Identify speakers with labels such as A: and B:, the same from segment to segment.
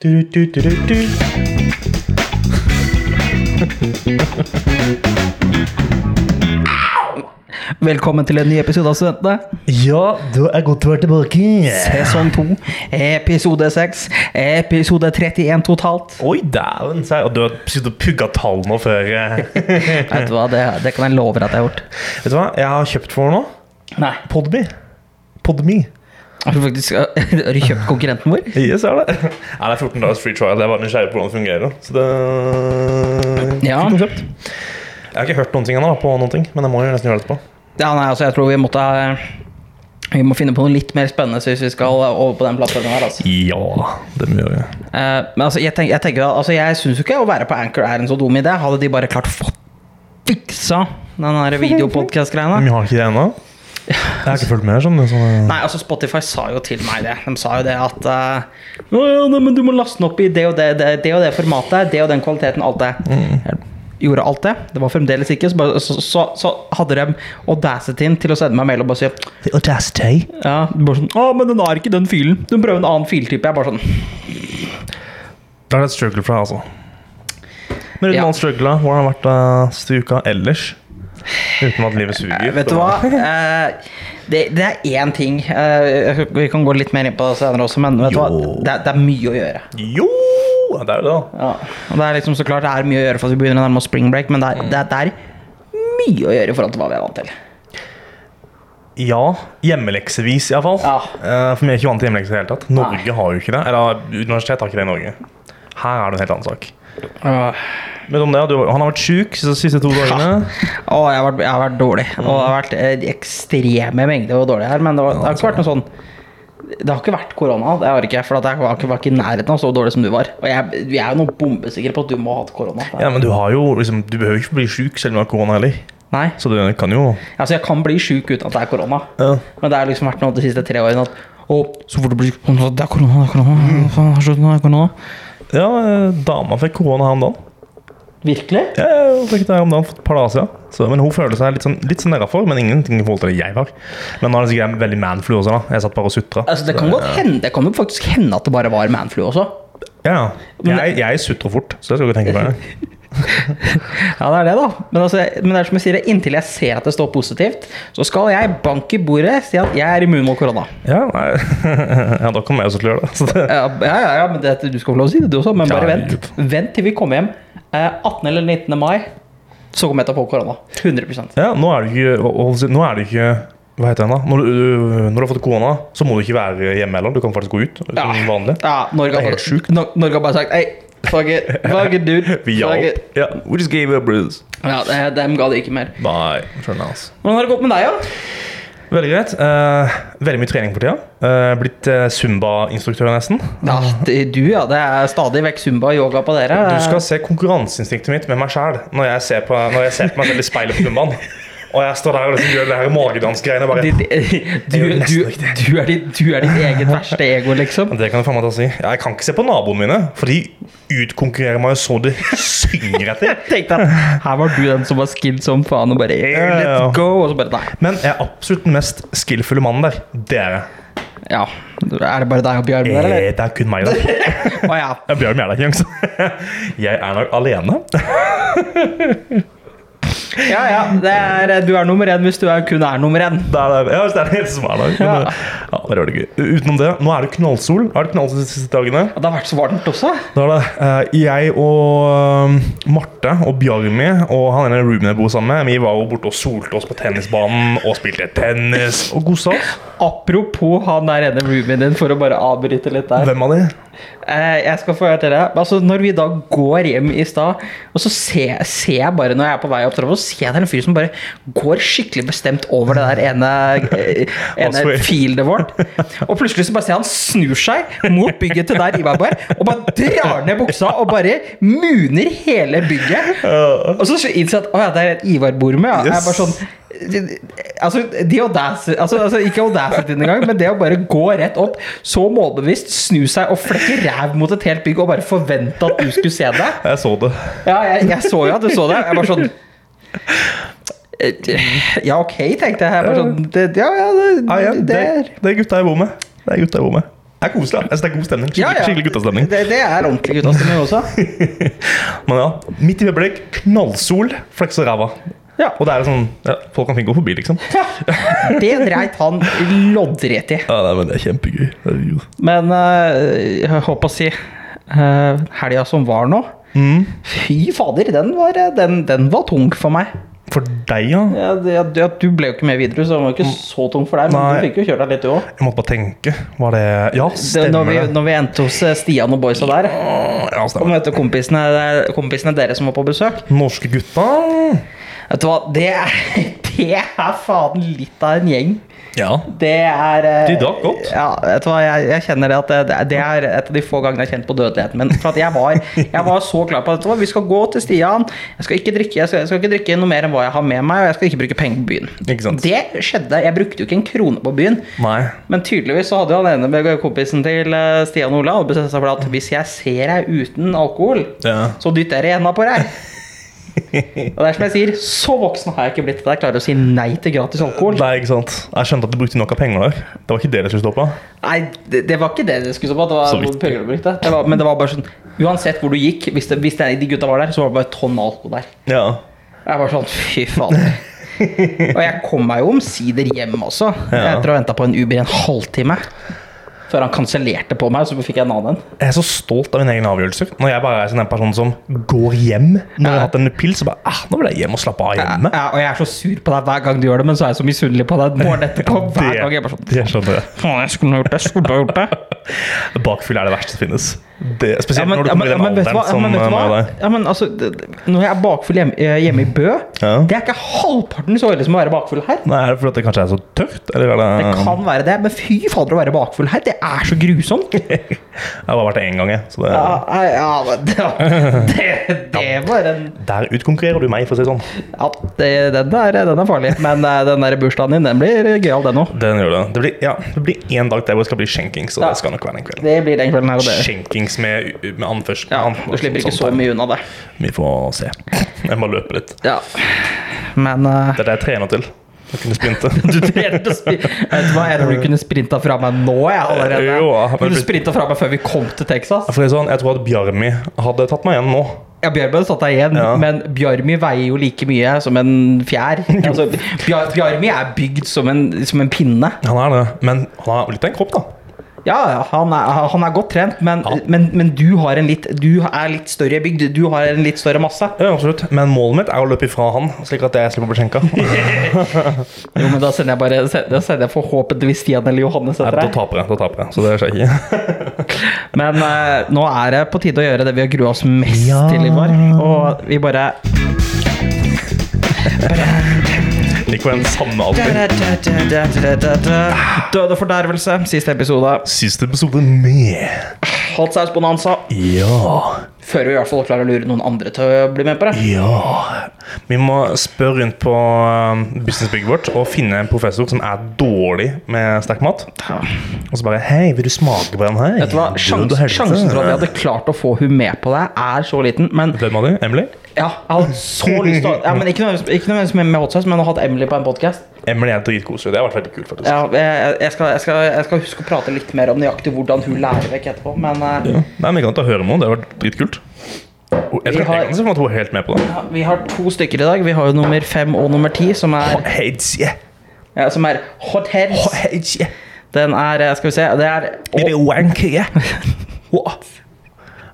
A: Du, du, du, du, du.
B: Velkommen til en ny episode av Studentene.
A: Ja, da er godt å være tilbake.
B: Sesong 2, episode 6, episode 31 totalt.
A: Oi, dæven. sa jeg. Og du har sittet og pugga tall nå før eh.
B: Vet du hva, det, det kan jeg love deg at jeg har gjort.
A: Vet du hva jeg har kjøpt for nå?
B: Nei.
A: Podme. Podme.
B: Har du faktisk har du kjøpt konkurrenten vår?
A: Yes, er det. Nei, det er 14 dagers free trial. Jeg var nysgjerrig på hvordan det fungerer. Så det
B: Ja.
A: Fint konsept. Jeg har ikke hørt noen ting ennå, da, på noen ting, men jeg må jo nesten gjøre det etterpå.
B: Ja, nei, altså, jeg tror vi måtte eh, vi må finne på noe litt mer spennende hvis vi skal over på den plattformen her. altså.
A: Ja, det må vi gjøre.
B: Eh, men altså, jeg, tenk, jeg tenker at, altså, jeg syns jo ikke å være på Anchor er en så dum idé. Hadde de bare klart fått fiksa den der videopodkast-greia.
A: Men vi har ikke det ennå? Jeg har ikke fulgt med. sånn, sånn
B: Nei, altså Spotify sa jo til meg det. De sa jo det at eh, «Å ja, nei, men du må laste den opp i det og det, det, det og det formatet, det og den kvaliteten, alt det. Jeg gjorde alt det. Det var fremdeles ikke. Så, bare, så, så, så hadde de audacityen til å sende meg mail og bare si
A: The audacity.
B: ja, bare sånn, å, men den har ikke den filen. Du må prøve en annen filtype. Jeg er bare sånn
A: Da er det et struggle for deg, altså. Men uten
B: Ja.
A: all struggle, hvordan har det vært eh, siste uka ellers? Uten at livet suger.
B: Eh, Vet du hva? Eh, det, det er én ting eh, Vi kan gå litt mer inn på det senere også, men vet du hva?
A: Jo.
B: Det, er- det er mye å gjøre.
A: Jo! Det er jo det, da.
B: Ja. Og det er liksom så klart det er mye å gjøre for at vi begynner å nærme oss spring break, men det er, det, er- det er mye å gjøre i forhold til hva vi er vant til.
A: Ja. Hjemmeleksevis, iallfall.
B: Ja.
A: Uh, for vi er ikke vant til hjemmelekser i det hele tatt. Norge
B: Nei.
A: har jo ikke det. Eller universitet har ikke det i Norge. Her er det en helt annen sak. Men om det, du, han har vært sjuk de siste to dagene.
B: Og jeg har vært, jeg har vært dårlig. Og det har vært eh, ekstreme mengder hvor dårlig jeg er, men det, var, det har ikke vært noe sånn det har ikke vært korona. det har det ikke, For at jeg var ikke, var ikke i nærheten av så dårlig som du var. Og jeg, vi er jo nå bombesikre på at du må ha hatt korona.
A: Ja, men du har jo liksom Du behøver ikke bli sjuk selv om du har korona heller.
B: Nei,
A: Så du kan jo
B: altså Jeg kan bli sjuk uten at det er korona.
A: Ja.
B: Men det har liksom vært noe de siste tre årene at å, så fort du blir sånn, Det er korona, det er korona. faen, det er slutt nå, det er korona.
A: Ja, eh, dama fikk korona her om dagen.
B: Virkelig?
A: Ja, ja, hun fikk det her om dagen for et par dager siden. Så, men hun føler seg litt sånn, litt sånn nedafor, men ingenting i forhold til det jeg var. Men nå er det sikkert en veldig manflu også, da. Jeg satt bare og sutra.
B: Altså, det kan godt hende Det kan jo faktisk hende at det bare var manflu også.
A: Ja, ja. Jeg, jeg sutrer fort, så jeg skal ikke tenke på det.
B: Ja, det er det, da. Men, altså, men det er som jeg sier, inntil jeg ser at det står positivt, så skal jeg banke i bordet si at jeg er immun mot korona.
A: Ja, nei. ja da kan vi også gjøre det. Så det.
B: Ja, ja, ja, ja men det, du skal få lov å si det, du også, men bare
A: Ja,
B: vent. Vent til vi kommer hjem. Eh, 18. eller 19. mai, så kommer jeg til å få korona. 100
A: Ja, nå er du ikke, hva- hva- nå er du ikke hva heter den da? Når du, du- når du har fått korona, så må du ikke være hjemme heller. Du kan faktisk gå ut som
B: Ja.
A: vanlig.
B: Ja, Norge
A: Det er
B: har
A: helt
B: bare, Nor- Norge har bare sagt Ei, fuck it, fuck it, dude.
A: Vi
B: fuck
A: hjalp.
B: it».
A: Ja, we just gave you a bruise.
B: Ja, de- Dem ga det ikke mer.
A: Nei, skjønner altså.
B: Hvordan har det gått med deg, da?
A: Veldig greit. Eh, veldig mye trening for tida. Eh, blitt eh, Zumba-instruktør nesten.
B: Ja, det- du, ja. Det er stadig vekk zumba og yoga på dere.
A: Du skal se konkurranseinstinktet mitt med meg sjæl når, jeg ser på- når jeg ser på meg selv i speilet på Zumbaen. Og jeg står der og liksom gjør det her magedansgreiene. Bare,
B: Ditt, du,
A: gjør nesten
B: du,
A: ikke
B: du, er ditt, du er ditt eget verste ego, liksom.
A: det kan du faen meg ta og si. Jeg kan ikke se på naboene mine, for de utkonkurrerer meg jo så det synger etter.
B: Tenk deg at her var du den som var skilled som faen og bare hey,
A: Ja, ja.
B: Let's go! Og så bare nei.
A: Men jeg er absolutt den mest skillfulle mannen der. Det er jeg.
B: Ja. Er det bare deg og Bjørn der, eller?
A: Eh, Det er kun meg, da.
B: Å ja.
A: Jeg blir med deg, ikke Jeg er nok alene.
B: Ja ja. Det er, eh, du er nummer én hvis du er, kun er nummer én.
A: Det er, det. ja, det er det eneste som er der. Men,
B: Ja.
A: ja. Ja, det var det gøy. Utenom det, nå er det knallsol. Er det knallsol de siste dagene?
B: Ja, det har vært så varmt også.
A: Da er det eh, jeg og eh, Marte og Bjarmi og han ene roomien jeg bor sammen med, vi var jo borte og solte oss på tennisbanen og spilte tennis og kosa oss.
B: Apropos han der ene roomien din, for å bare avbryte litt der.
A: Hvem av de?
B: Eh, jeg skal få høre til det. Altså, når vi da går hjem i stad, og så ser, ser jeg bare når jeg er på vei opp trappa, så ser jeg det er en fyr som bare går skikkelig bestemt over det der ene, eh, ene
A: Password.
B: fieldet vårt. Og plutselig så bare ser jeg han snur seg mot bygget til der Ivar var, og bare drar ned buksa og bare muner hele bygget. Og så innser jeg at å ja, det er et Ivar bor med. Ja. Jeg er bare sånn Altså, de audaci, altså, altså ikke audacityen engang, men det å bare gå rett opp, så målbevisst, snu seg og flekke ræv mot et helt bygg og bare forvente at du skulle se det.
A: Jeg så det.
B: Ja, jeg, jeg så jo at du så det. Jeg bare sånn eh, Ja, ok, tenkte jeg. jeg bare sånn, det, ja, ja, det,
A: Ah, Ja, ja,
B: det
A: det, det er gutta jeg bor med. Det er gutta jeg bor med. Det er koselig. da. Jeg synes det er god stemning. Skikkelig, skikkelig guttastemning.
B: Det, det er ordentlig guttastemning også.
A: Men ja, midt i øyeblikk, knallsol, flekse ræva.
B: Ja.
A: Og det er sånn ja, Folk kan fint gå forbi, liksom.
B: Det dreit han loddrett i.
A: Ja, nei, men det er kjempegøy. Herregud.
B: Men eh, jeg håper å si uh, helga som var nå
A: Mm.
B: Fy fader, den var, eh, den, den var tung for meg.
A: For deg, ja.
B: Ja, det, ja, du- ja, du ble jo ikke med videre, så den var ikke så tung for deg. Men
A: Mm. Nei.
B: du fikk jo kjørt deg litt, du òg.
A: Jeg måtte bare tenke. Var det Ja,
B: Når,
A: stemmer
B: vi-
A: det?
B: når vi endte hos eh, Stian og boysa der,
A: Åh, Ja,
B: og
A: stemmer.
B: møtte kompisene, der- kompisene dere som var på besøk
A: Norske gutta.
B: Vet du hva, det er, det er faen litt av en gjeng.
A: Ja.
B: Det er eh,
A: De drakk godt.
B: Ja, vet du hva, jeg, jeg kjenner det at eh, det, det- det er et av de få gangene jeg har kjent på dødeligheten min. For at jeg var, jeg var så klar på at vet du hva, vi skal gå til Stian. Jeg skal ikke drikke jeg skal, jeg skal ikke drikke noe mer enn hva jeg har med meg, og jeg skal ikke bruke penger på byen.
A: Ikke sant.
B: Det skjedde. Jeg brukte jo ikke en krone på byen.
A: Nei.
B: Men tydeligvis så hadde jo han ene med kompisen til eh, Stian og Ola hadde bestemt seg for at hvis jeg ser deg uten alkohol,
A: Ja.
B: så dytter jeg i hendene på deg. Og det er som jeg sier, så voksen har jeg ikke blitt at jeg klarer å si nei til gratis alkohol.
A: Nei, ikke sant. Jeg skjønte at du brukte nok av penger der. Det var ikke det det skulle stå på.
B: Nei, det, det var ikke det det skulle stå på. at Det
A: Så
B: var
A: vidt.
B: hvor penger du brukte. Det var, men det var bare sånn Uansett hvor du gikk, hvis, det, hvis det, de gutta var der, så var det bare et tonn alkohol der.
A: Ja.
B: Jeg var sånn, fy faen. Og jeg kom meg jo omsider hjem også.
A: Ja.
B: Etter å ha venta på en Uber i en halvtime. Før han kansellerte på meg, så fikk jeg en annen en.
A: Jeg er så stolt av mine egne avgjørelser. Når jeg bare er sånn en person som går hjem når jeg har hatt en pils, så bare ah, nå vil jeg hjem og slappe av hjemme.
B: Ja, og jeg er så sur på deg hver gang du gjør det, men så er jeg så misunnelig på deg morgenen etterpå.
A: Det,
B: Hver gang jeg bare sånn
A: det skjønner jeg.
B: Faen, jeg skulle ha gjort det. Jeg skulle ha gjort det.
A: Bakfyll er det verste som finnes. Det, spesielt
B: Ja, men,
A: når du
B: ja,
A: kommer
B: men,
A: i
B: ja,
A: den
B: men vet du
A: alderen som
B: hva? Ja, men, vet du
A: eh, meg og
B: hva?
A: deg.
B: Ja, men, altså, det- det- når jeg er bakfull hjemme, eh, hjemme i Bø
A: Ja.
B: Det er ikke halvparten så ille som å være bakfull her.
A: Nei, er det fordi at det kanskje er så tørt? Eller er det,
B: Det kan være det, men fy fader å være bakfull her, det er så grusomt.
A: Jeg har bare vært det én gang, jeg. Så det,
B: Ja, nei, ja, men det, var- det, det var en
A: Der utkonkurrerer du meg, for å si det sånn.
B: Ja, det, den, er, den er farlig. Men eh, den der bursdagen din, den blir gøyal, den òg.
A: Den gjør det. Det blir, ja, det blir en dag der hvor det skal bli skjenking, så
B: Ja.
A: det skal nok være en kveld.
B: Det blir den kvelden her og det.
A: Skjenkings med, med anførsel.
B: Ja, du slipper ikke
A: Sånn
B: så mye unna det.
A: Vi får se. Jeg må løpe litt.
B: Ja. Men eh,
A: Det er det jeg trener til. Å kunne sprinte.
B: Du trener til å spri- Vet du hva, jeg tror du kunne sprinta fra meg nå, jeg allerede.
A: Jo, ja, men-
B: Du kunne sprinta fra meg før vi kom til Texas.
A: For det er sånn, Jeg tror at Bjarmi hadde tatt meg igjen nå.
B: Ja, Bjarmi hadde satt deg igjen,
A: Ja.
B: men Bjarmi veier jo like mye som en fjær. Altså, Bjar- Bjarmi er bygd som en, som en pinne.
A: Han er det, men han har litt av en kropp, da.
B: Ja, ja, han er, han er godt trent, men,
A: Ja.
B: men, men du, har en litt, du er litt større bygd. Du har en litt større masse.
A: Ja, absolutt. Men målet mitt er å løpe ifra han, slik at jeg slipper å bli skjenka. Nei,
B: Jo, men da sender jeg, bare, da sender jeg forhåpentligvis Stian eller Johannes etter
A: Da
B: deg.
A: taper jeg. da taper jeg, Så det skjer ikke.
B: Men eh, nå er det på tide å gjøre det vi har grua oss mest
A: Ja.
B: til i vår. Og vi bare
A: Liker den samme alltid.
B: Døde fordervelse, siste episode.
A: Siste episode med
B: Hot sauce bonanza.
A: Ja.
B: Før vi i hvert fall klarer å lure noen andre til å bli med på det.
A: Ja Vi må spørre rundt på eh, businessbygget vårt og finne en professor som er dårlig med sterk mat. Og så bare Hei, vil du smake på den her?
B: Vet du hva, Sjans, Sjansen for at vi hadde klart å få hun med på det, er så liten. Men
A: Hvem var det? Emily?
B: ja, jeg hadde så lyst til å ja, men Ikke nødvendigvis, ikke nødvendigvis med, med hot sauce, men å ha hatt Emily på en podkast.
A: Emily er dritkoselig. Det har vært veldig kult, faktisk.
B: Ja, jeg, jeg, skal- jeg, skal- jeg skal huske å prate litt mer om nøyaktig hvordan hun lærer vekk etterpå, men eh,
A: Ja. Nei, men Vi kan ta høre med henne. Det har vært dritkult. Og Jeg
B: Vi
A: tror
B: har-
A: egentlig som at hun er helt med på det.
B: ja, vi har to stykker i dag. Vi har jo nummer fem og nummer ti, som er,
A: Heads, yeah.
B: ja, som er hot heads.
A: Heads, yeah.
B: Den er eh, Skal vi se. Det er
A: Blir det wank, yeah? Wow.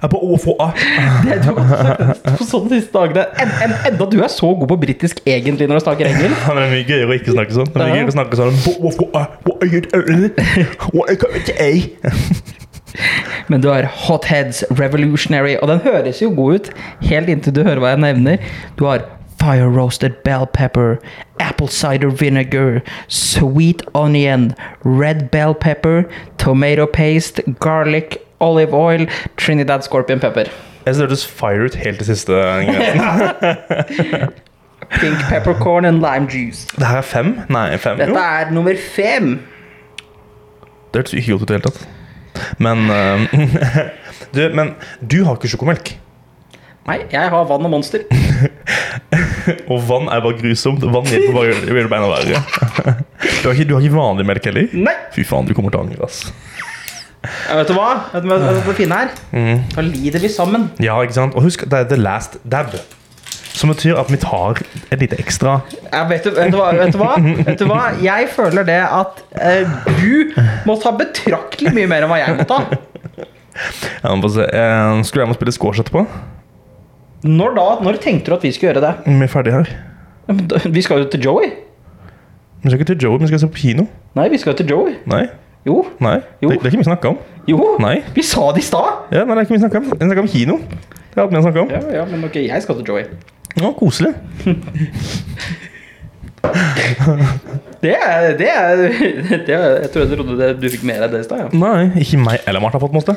A: Jeg er på å få av.
B: på sånne siste dagene. En, en, enda du er så god på britisk egentlig når du snakker engelsk.
A: Han er mye gøyere å ikke snakke sånn. Det er mye
B: Ja.
A: gøyere å snakke sånn «Hva- hva- hva- hva er det? Hva er det? Ei?»
B: Men du har hot heads, revolutionary, og den høres jo god ut helt inntil du hører hva jeg nevner. Du har fire roasted bell pepper, apple cider vinegar, sweet onion, red bell pepper, tomato paste, garlic, olive oil, Trinidad scorpion pepper.
A: Jeg synes det hørtes fire ut helt til siste ingrediens.
B: Pink peppercorn and lime juice.
A: Det her er fem? Nei, fem. Jo,
B: Dette er nummer fem.
A: det hørtes ikke godt ut i det hele tatt. Men, eh, du, men du har ikke sjokomelk.
B: Nei, jeg har vann og monster.
A: Og vann er bare grusomt. Vann hjelper bare å gjøre beina verre. Du har, ikke, du har ikke vanlig melk heller?
B: Nei.
A: Fy faen, du kommer til å angre, ass.
B: Ja, vet du hva? Vet du hva vet du hva det fine er? Da lider vi sammen.
A: Ja, ikke sant? Og husk, det er the last dab. Som betyr at vi tar et lite ekstra
B: Ja, vet, du, vet, du hva, vet, du hva? vet du hva? Jeg føler det at eh, du må ta betraktelig mye mer enn hva jeg må ta.
A: ja, men få se. Eh, Skulle jeg må spille squash etterpå?
B: Når da? Når tenkte du at vi skulle gjøre det?
A: Mm, Vi er ferdige her.
B: Ja, men da- Vi skal jo til Joey.
A: Vi skal ikke til Joey, vi skal se på kino.
B: Nei, vi skal jo til Joey.
A: Nei.
B: Jo.
A: Nei.
B: Jo.
A: Det, det er ikke mye å snakke om.
B: Jo.
A: Nei.
B: Vi sa det i stad.
A: Ja, nei, det er ikke mye å snakke om. Vi snakker om kino. Det er alt vi har snakket om.
B: Ja, ja, men ok, jeg skal til Joey.
A: Å, koselig.
B: Det er, det er, det er Jeg tror jeg trodde det, du fikk med deg det i stad. Ja.
A: Nei, ikke meg eller Martha har fått måte.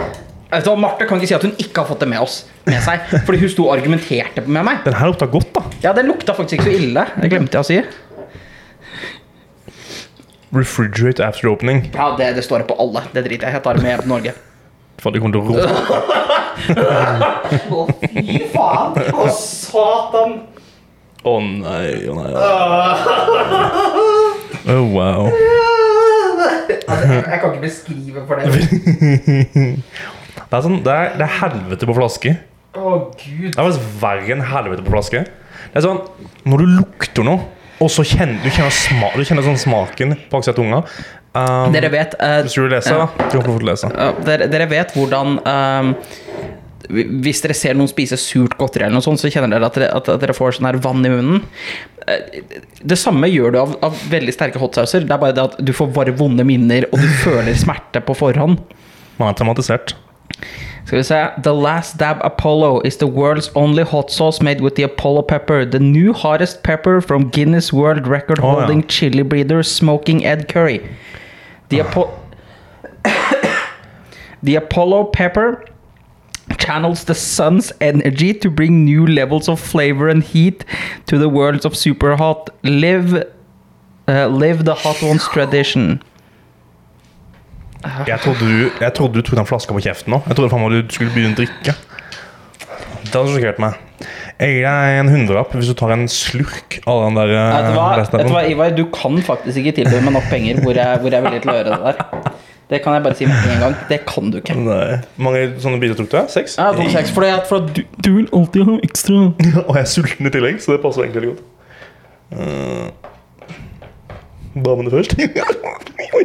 B: Vet du hva, Marte kan ikke si at hun ikke har fått det med, oss, med seg. Fordi hun sto og argumenterte med meg.
A: Den her lukta godt, da.
B: Ja, det lukta faktisk ikke så ille. Det glemte jeg å si.
A: Refrigerate after opening.
B: Ja, det, det står det på alle. Det driter jeg i. Jeg tar det med hjem til Norge.
A: For det kommer til å råte.
B: Å, fy faen! Å, satan!
A: Å nei, å nei. Å oh, wow.
B: Altså, jeg, jeg kan ikke beskrive for det.
A: Det er, sånn, det, er, det er helvete på flaske.
B: Å, gud.
A: Det er faktisk verre enn helvete på flaske. Det er sånn, Når du lukter noe, og så kjenner du kjenner, sma, du kjenner sånn smaken på baksida av tunga um,
B: Dere vet eh,
A: Hvis du vil lese, da. Du kan få lov til å lese.
B: ja, dere, dere vet hvordan eh, Hvis dere ser noen spise surt godteri, eller noe sånt, så kjenner dere at dere, at, at dere får sånn her vann i munnen. Eh, Det samme gjør du av, av veldig sterke hotsauser. Det er bare det at du får bare vonde minner, og du føler smerte på forhånd.
A: Man er traumatisert.
B: Skal vi se The Last Dab Apollo is the world's only hot sauce made with the Apollo pepper. The new hottest pepper from Guinness World Record holding
A: Å, ja.
B: chili breeder smoking Ed Curry. The, Apo the Apollo pepper channels the sun's energy to bring new levels of flavor and heat to the worlds of super hot. Live, uh, live the hot ones tradition.
A: Jeg trodde, du, jeg trodde du tok den flaska på kjeften nå. Jeg trodde faen meg du skulle begynne å drikke. Det hadde sjokkert meg. Jeg er en hundrelapp hvis du tar en slurk av den der eh,
B: Vet du hva,
A: resten av
B: vet du
A: den.
B: hva Ivar, du kan faktisk ikke tilby meg nok penger hvor jeg, hvor jeg er villig til å gjøre det der. Det kan jeg bare si med en gang. Det kan du ikke.
A: Nei. Mange sånne biter tok du? ja? Seks?
B: Ja, to seks, fordi at, for at du, du vil alltid ha ekstra.
A: Og jeg er sulten i tillegg, så det passer egentlig veldig godt. Eh, damene først. Oi,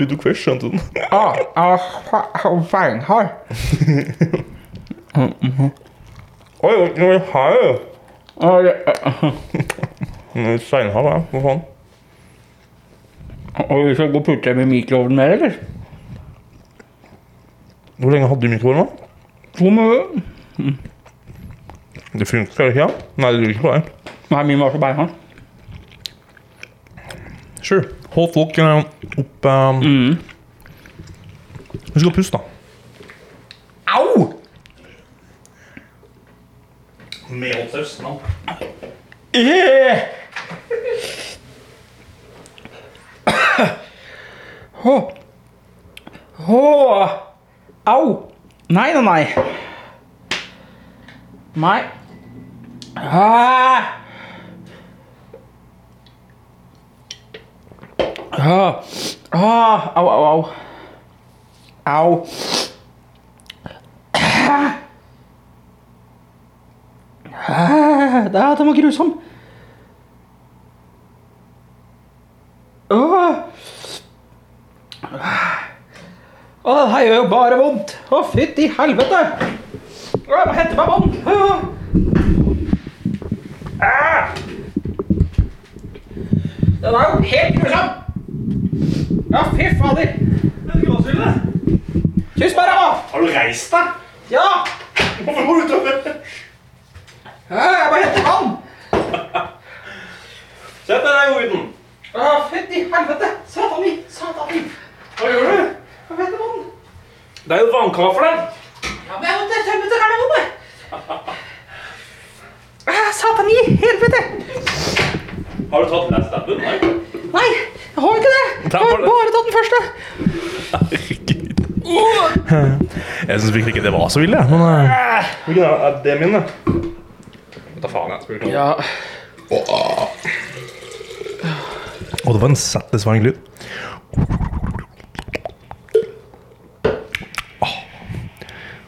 A: du tok først, skjønte du den?
B: Ah, ah, fa- ah, beinhard.
A: Oi, nå er jeg her, jo.
B: Ah, ja, ah,
A: Nå er jeg Steinhard, ja. Hva faen?
B: ah. Og vi skal gå og putte dem i mikroovnen mer, eller?
A: Hvor lenge hadde du mikroovnen? da?
B: To minutter.
A: Det funker ikke, ja? Nei, det lurer ikke på deg.
B: Nei, min var så beinhard.
A: Sure. Hold folk eh, opp eh, Husk å puste, da.
B: Au!
A: Med oppsaus. Nei,
B: Eh! Hå. Hå. Au. Nei, nei, nei. Nei. Ah. Ah. Ah. Au, au, au. Au. Ah. Ah. Ah, Den var grusom. Åh! Åh, det her gjør jo bare vondt. Å, fytti helvete! Åh, jeg må hente meg vann. Åh. Ah! Den er jo helt grusom! Ja, fy fader. Kyss meg, ræva!
A: Har du reist deg?
B: Ja!
A: Hvorfor må du tømme?
B: Åh, jeg må hente vann.
A: Sett deg ned, Odin.
B: Å, fytti helvete. Satan min, satan min.
A: Hva gjør du?
B: Jeg må hente vann.
A: Det er jo vannkar for deg.
B: Ja, men jeg måtte tømme til karnevalet! Ah, Satan i helvete!
A: Har du tatt last stabben? Nei.
B: Nei, jeg har ikke det! Jeg
A: Der var
B: har
A: det.
B: bare tatt den første.
A: Herregud. Jeg syns virkelig ikke det var så ille. Men, eh. Hvilken er det min, da? Ta faen, jeg spurte
B: Ja.
A: Å, det var en satisfying lyd.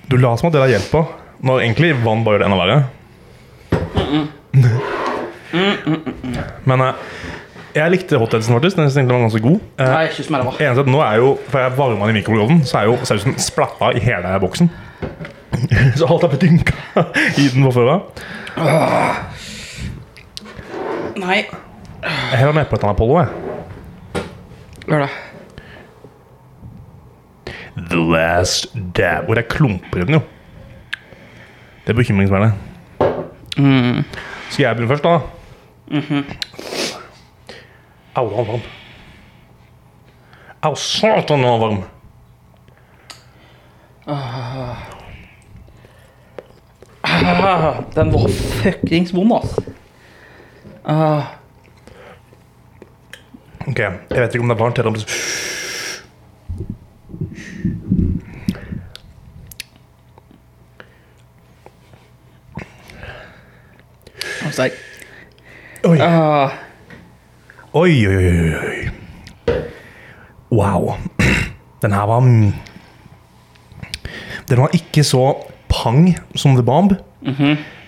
A: Du la som at dere har hjelp på, når egentlig vann bare gjør det enda verre. Men eh, jeg likte hotdogsen faktisk. Den synes jeg egentlig var ganske god. Eh,
B: Nei, kyss meg ræva.
A: Eneste at nå er jo, For jeg varma den i mikroovnen, så er jo sausen splatta i hele boksen. Så alt er blitt dynka i den fra før av.
B: Nei.
A: Jeg heller nedpå et annet Apollo, jeg.
B: Gjør det.
A: The Last Dab. Hvor jeg klumper i den, jo. Det er bekymringsverdig. Skal jeg begynne først, da? Au, han var varm. Au, satan, han var varm.
B: Ah, den var fuckings vond, ass.
A: Ok, jeg vet ikke om det er varmt eller om det
B: Den var sterk.
A: Oi.
B: Ah,
A: Oi, oi, oi, oi, oi. Wow. Den her var mm, Den var ikke så pang som The Bomb,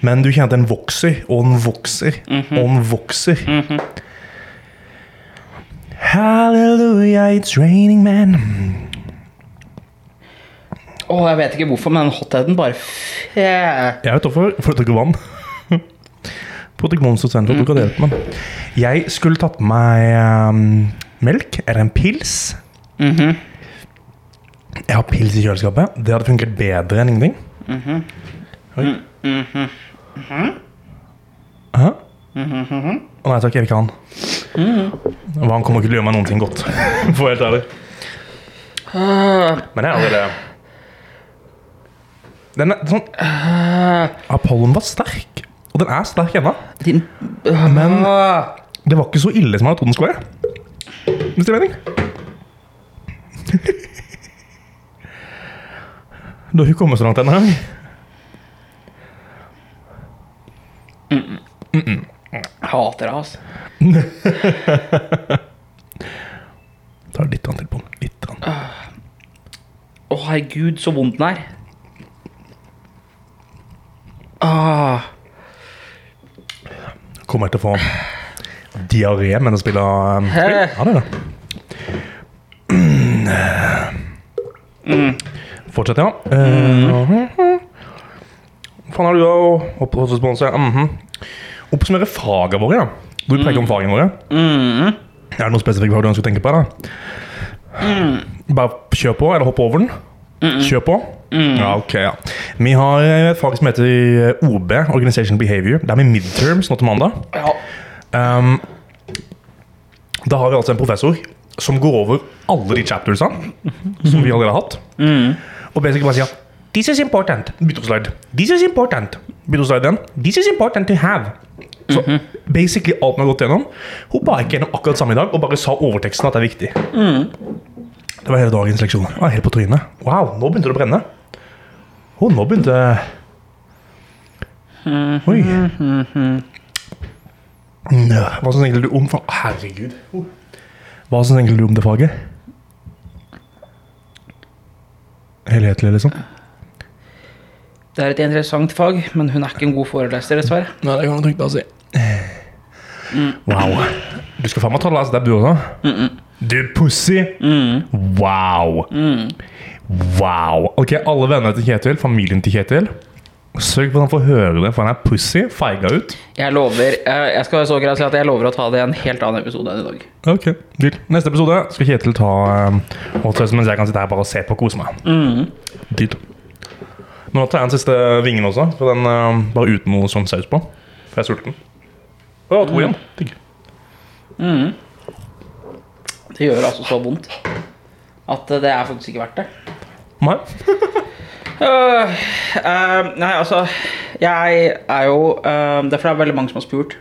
A: men du kjenner at den vokser, og den vokser, og den vokser. Hallelujah, it's raining man.
B: Åh, jeg vet ikke hvorfor, men den hotheaden bare fe-
A: Jeg vet hvorfor. For at du ikke vann. Protokollens senter, du kan hjelpe meg. Jeg skulle tatt med meg ehm, melk eller en pils. Jeg har pils i kjøleskapet. Det hadde fungert bedre enn ingenting. Oi. Hæ? Å nei takk, jeg vil ikke ha han. Og Han kommer ikke til å gjøre meg noen ting godt, for å være helt ærlig.
B: Ah,
A: Men jeg er allerede Den er sånn Apollon var sterk. Og den er sterk ennå.
B: Din
A: Men-
B: Ah,
A: Det var ikke så ille som jeg hadde trodd den skulle være. Hvis det er mening. Du har ikke kommet så langt ennå.
B: Jeg hater deg, ass.
A: Ta litt grann til på den. Litt. grann.
B: Å, herregud, så vond den er. Ah,
A: Kommer jeg til å få diaré mens jeg spiller um, spill? Ja, det er det. Fortsett, ja. Eh, Hva faen har du å opp- å sponse? Mhm. Oppsummere fagene våre, ja. Du preker om fagene våre. Er det noe spesifikt fag du ønsker å tenke på? da? Bare kjør på, eller hopp over den. Kjør på. Ja, ok, ja. Vi har eh, et fag som heter OB, Organization Behavior. Det er med midterms nå til mandag.
B: ja.
A: Um, da har vi altså en professor som går over alle de chaptersene som vi allerede har hatt. Og basically bare sier This is important. Bytteoppslide. This is important. Bytteoppslide den. This is important to have. Så basically alt vi har gått gjennom. Hun ba ikke gjennom akkurat samme i dag og bare sa overteksten at det er viktig. Det var hele dagens leksjon. Jeg var helt på trynet. Wow, nå begynte det å brenne. Å, nå begynte Oi. Nå, Hva syns egentlig du om fa- Herregud. Hva syns egentlig du om det faget? Helhetlig, liksom?
B: Det er et interessant fag, men hun er ikke en god foreleser, dessverre.
A: Nei, det kan du trygt bare si. Wow. Du skal faen meg ta last dab, du også? Du pussy! Wow. Wow. Ok, alle vennene til Kjetil, familien til Kjetil. Sørg for at han får høre det, for han er pussy. Feiga ut.
B: Jeg lover eh, Jeg skal være så grei å si at jeg lover å ta det i en helt annen episode enn i dag.
A: Ok, deal. Neste episode skal Kjetil ta eh, hotdogsen, mens jeg kan sitte her bare og se på og kose meg. Deal. Men nå tar jeg den siste vingen også, for den eh, bare uten noe sånn saus på. For jeg er sulten. Å, to igjen. Digg.
B: Det gjør altså så vondt at eh, det er faktisk ikke verdt det.
A: Nei.
B: Øh, eh, nei, altså Jeg er jo uh, Derfor er det veldig mange som har spurt.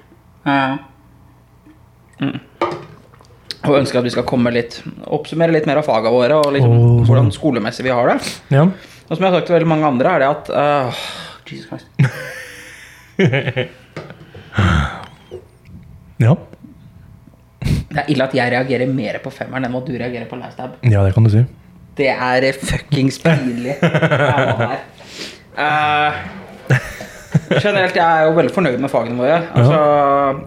B: eh, mm. Og ønsker at vi skal komme litt oppsummere litt mer av fagene våre og liksom
A: Åh, sånn.
B: hvordan skolemessig vi har det.
A: Ja.
B: Og som jeg har sagt til veldig mange andre, er det at øh, Jesus Christ.
A: ja.
B: Det er ille at jeg reagerer mer på femmeren enn hva du reagerer på last dab. eh,
A: Ja, det kan du si.
B: Det er fuckings pinlig. Jeg var der. Eh, generelt, jeg er jo veldig fornøyd med fagene våre. Altså,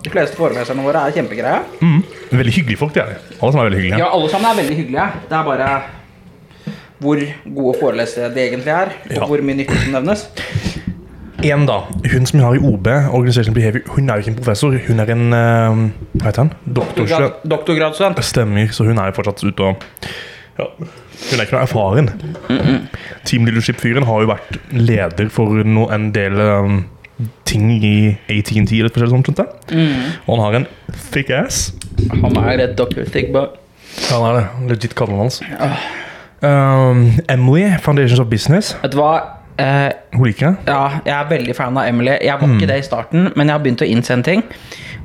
B: de fleste foreleserne våre er kjempegreie.
A: Mm. Veldig hyggelige folk, de er. Alle som er veldig hyggelige.
B: Ja, alle sammen er veldig hyggelige. Det er bare hvor gode forelesere de egentlig er, og
A: Ja.
B: hvor mye nytte som nevnes.
A: En da, hun som jeg har i OB, Organization Behavior, hun er jo ikke en professor, hun er en, eh, hva heter han? Doktorstudent.
B: Doktorgrad- Doktorgradsstudent.
A: Stemmer, så hun er jo fortsatt ute og ja, Hun er ikke noe erfaren. Team Leadership-fyren har jo vært leder for no, en del um, ting i ATNT eller spesielt sånt. skjønte jeg. Og han har en thick ass.
B: Han er et doktor Thigba.
A: Han er det. Legit kallenavnet hans. Um, Emily, Foundations of Business.
B: Vet du hva? Eh,
A: Hun liker jeg.
B: ja, jeg er veldig fan av Emily. Jeg var
A: Mm.
B: ikke det i starten, men jeg har begynt å innse en ting.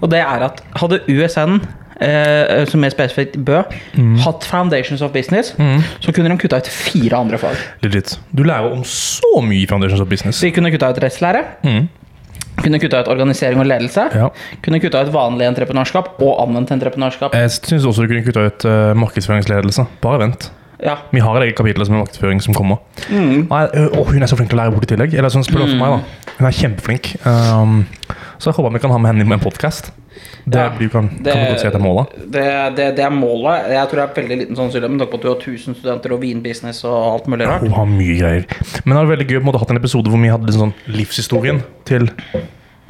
B: Og det er at hadde USN, eh, som er spesifikt Bø,
A: Mm.
B: hatt Foundations of Business, så kunne de kutta ut fire andre fag.
A: Legit. Du lærer om så mye i Foundations of Business.
B: Så vi kunne kutta ut rettslære,
A: Mm.
B: kunne kutta ut organisering og ledelse,
A: Ja.
B: kunne kutta ut vanlig entreprenørskap og anvendt entreprenørskap.
A: Jeg syns også du kunne kutta ut eh, markedsføringsledelse. Bare vent.
B: Ja.
A: Vi har et eget kapittel som er markedsføring som kommer.
B: Mm.
A: Nei, ø, og hun er så flink til å lære bort i tillegg. Eller sånn spør du for meg, da. Hun er kjempeflink. Um, så jeg håper vi kan ha med henne med en podkast. Det
B: Ja,
A: blir, kan,
B: det-
A: kan vi godt si etter målet.
B: Det, det, det er målet. Jeg tror det er veldig liten sannsynlighet med tanke på at du har 1000 studenter og vinbusiness og alt mulig rart.
A: Hun har mye greier. Men det hadde vært veldig gøy å på en måte hatt en episode hvor vi hadde liksom sånn livshistorien til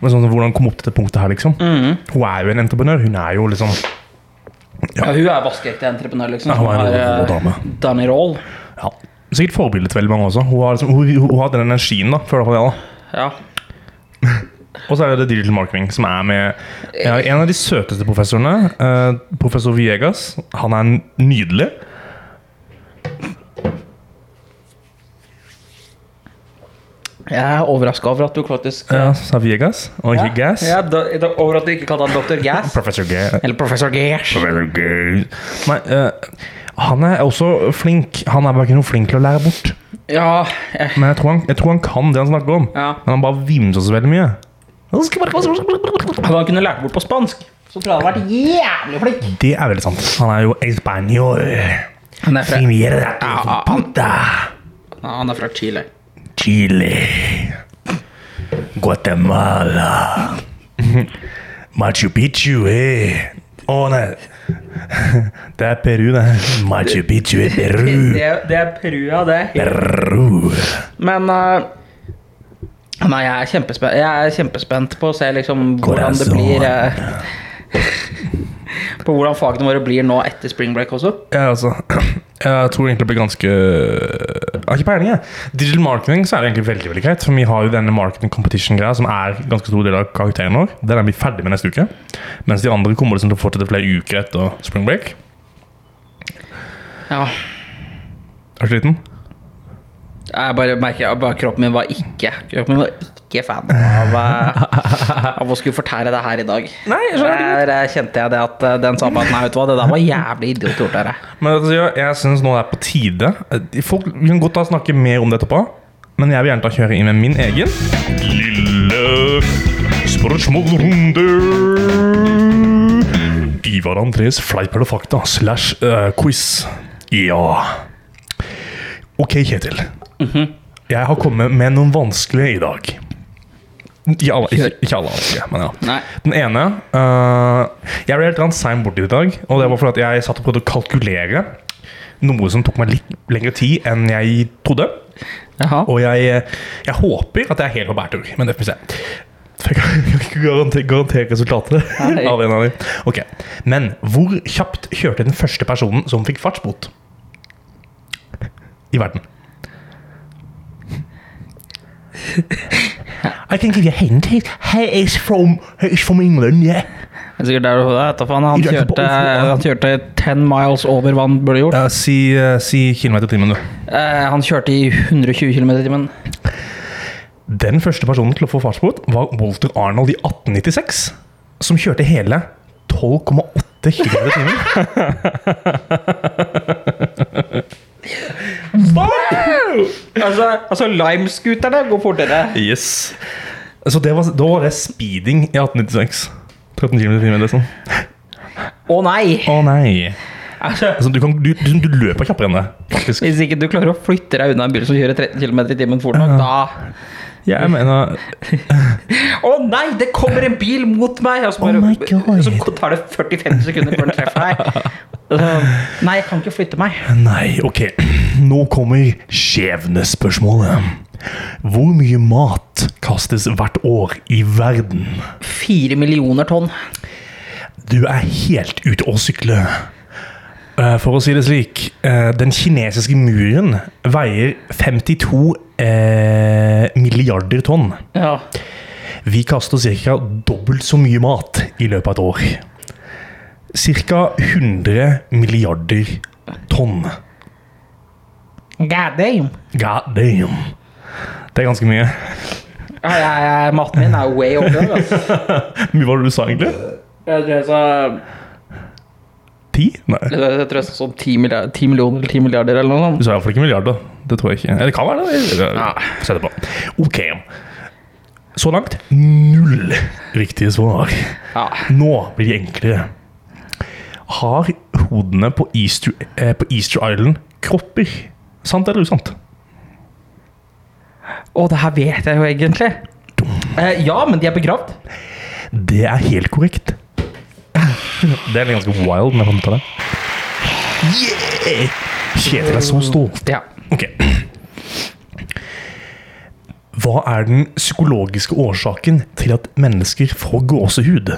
A: men sånn, Hvordan kom opp til dette punktet her, liksom.
B: Mm.
A: Hun er jo en entreprenør. Hun er jo liksom
B: Ja, hun er vaskeekte entreprenør, liksom.
A: Ja, hun er en
B: eh,
A: rå dame.
B: Danny Roll.
A: ja, Sikkert forbilde til veldig mange også. Hun har, liksom, hun, hun, hun har den energien, da. Føler jeg på det, da.
B: Ja.
A: Og så er det Digital Marketing, som er med ja, en av de søteste professorene. eh, professor Viegas. Han er n- nydelig.
B: Jeg er overraska over at du faktisk
A: Ja, sa Viegas, og ikke Gas.
B: Ja, da, da, over at du ikke kalte han Dr. Gas.
A: Professor Ga-
B: Eller Professor Gash.
A: Professor Gas. Nei, eh, han er også flink. Han er bare ikke noe flink til å lære bort.
B: Ja, eh,
A: Men jeg tror han, jeg tror han kan det han snakker om.
B: Ja.
A: Men han bare vimser så veldig mye.
B: Hadde han kunnet lært bort på spansk, så tror jeg han hadde vært jævlig flink.
A: Det er veldig sant. Han er jo espanjol.
B: Han er fra,
A: Primera panta.
B: ja, han er fra Chile.
A: Chile, Guatemala, Machu Picchu, eh. Å nei, det er Peru det. Machu Picchu er Peru.
B: Det, det er Perua, det.
A: Peru.
B: Men eh, Nei, jeg er, kjempespent, jeg er kjempespent på å se liksom hvordan det
A: Corazon.
B: blir eh, På hvordan fagene våre blir nå etter spring break også.
A: Ja, altså, jeg tror egentlig det blir ganske Jeg har ikke peiling, jeg. Digital marketing så er det egentlig veldig veldig greit. For vi har jo denne marketing competition-greia som er ganske stor del av karakteren vår. Den er vi ferdig med neste uke. Mens de andre kommer liksom til å fortsette flere uker etter spring break.
B: Ja,
A: Er du sliten?
B: jeg bare merker jeg bare kroppen min var ikke Kroppen min var ikke fan av, eh, av å skulle fortære det her i dag.
A: Nei, jeg skjønner det
B: Der eh, kjente jeg det at eh, den sa på at nei, vet du hva, det der var jævlig idiot gjort. Der, jeg.
A: Men altså, jeg, jeg synes nå det er på tide Eh, Folk vi kan godt da snakke mer om det etterpå Men jeg vil gjerne da kjøre inn med min egen Lille spørsmålrunde Ivar Andres fleip eller fakta Slash eh, quiz Ja Ok Kjetil Jeg har kommet med noen vanskelige i dag ikke alle, ikke, ikke alle vanskelige, men ja
B: Nei.
A: den ene øh, Jeg ble helt rann sein borti det i dag. Og det var fordi at jeg satt og prøvde å kalkulere noe som tok meg litt lengre tid enn jeg trodde.
B: Jaha.
A: Og jeg, jeg håper at jeg er helt på bærtur, men det får vi se. For Jeg kan jeg kan ikke garantere, garantere resultatet.
B: Nei.
A: av en av de. Ok, Men hvor kjapt kjørte den første personen som fikk fartsbot i verden? I can give you a hint. He is from, he is from England, yeah.
B: Det er Sikkert der du vet, da, faen, han,
A: Jeg er ikke på
B: kjørte, eh,
A: Oslo, ja.
B: han kjørte 10 miles over hva han burde gjort.
A: si, uh, si kilometer i timen, du.
B: Eh, han kjørte i 120 km i timen.
A: Den første personen til å få fartsbot var Walter Arnold i 1896, som kjørte hele 12,8 km i timen.
B: Altså, altså Lime-scooterne går fortere.
A: Yes. Så det var, da var det speeding i 1896. 13 km i timen, liksom.
B: Å nei!
A: Å nei.
B: Ja, Altså,
A: Altså, du, kan, du, du, du løper kjappere enn det, faktisk.
B: hvis ikke du klarer å flytte deg unna en bil som kjører 13 km i timen fort nok, da
A: Jeg mener
B: Å nei, det kommer en bil mot meg! Og så, bare,
A: Oh my God.
B: så tar det 45 sekunder før den treffer deg. Så, nei, jeg kan ikke flytte meg.
A: Nei, ok. Nå kommer skjebnespørsmålet. Hvor mye mat kastes hvert år i verden?
B: Fire millioner tonn.
A: Du er helt ute å sykle. Eh, For å si det slik, eh, den kinesiske muren veier 52 eh, milliarder tonn.
B: Ja.
A: Vi kaster ca. dobbelt så mye mat i løpet av et år. Ca. 100 milliarder tonn.
B: God damn.
A: God damn. Det er ganske mye.
B: Ja, jeg, jeg, maten min er way over there. Altså.
A: Mye var det du sa, egentlig?
B: Jeg tror jeg sa
A: Ti? Nei.
B: jeg tror jeg sa sånn 10 milliarder, 10 millioner eller 10 milliarder eller noe sånt.
A: Du sa iallfall ikke milliard, da. Det tror jeg ikke. Eller det kan være det. Jeg- jeg- jeg setter på. Ok. Så langt null riktige svar.
B: Ja.
A: Nå blir det enklere. Har hodene på Easter, eh, på Easter Island kropper? Sant eller usant?
B: Å, det her vet jeg jo egentlig. Eh, ja, men de er begravd.
A: Det er helt korrekt. Det er ganske wild når jeg kommer på det. Yeah! Kjetil er så stolt.
B: Ja.
A: Ok. Hva er den psykologiske årsaken til at mennesker får gåsehud?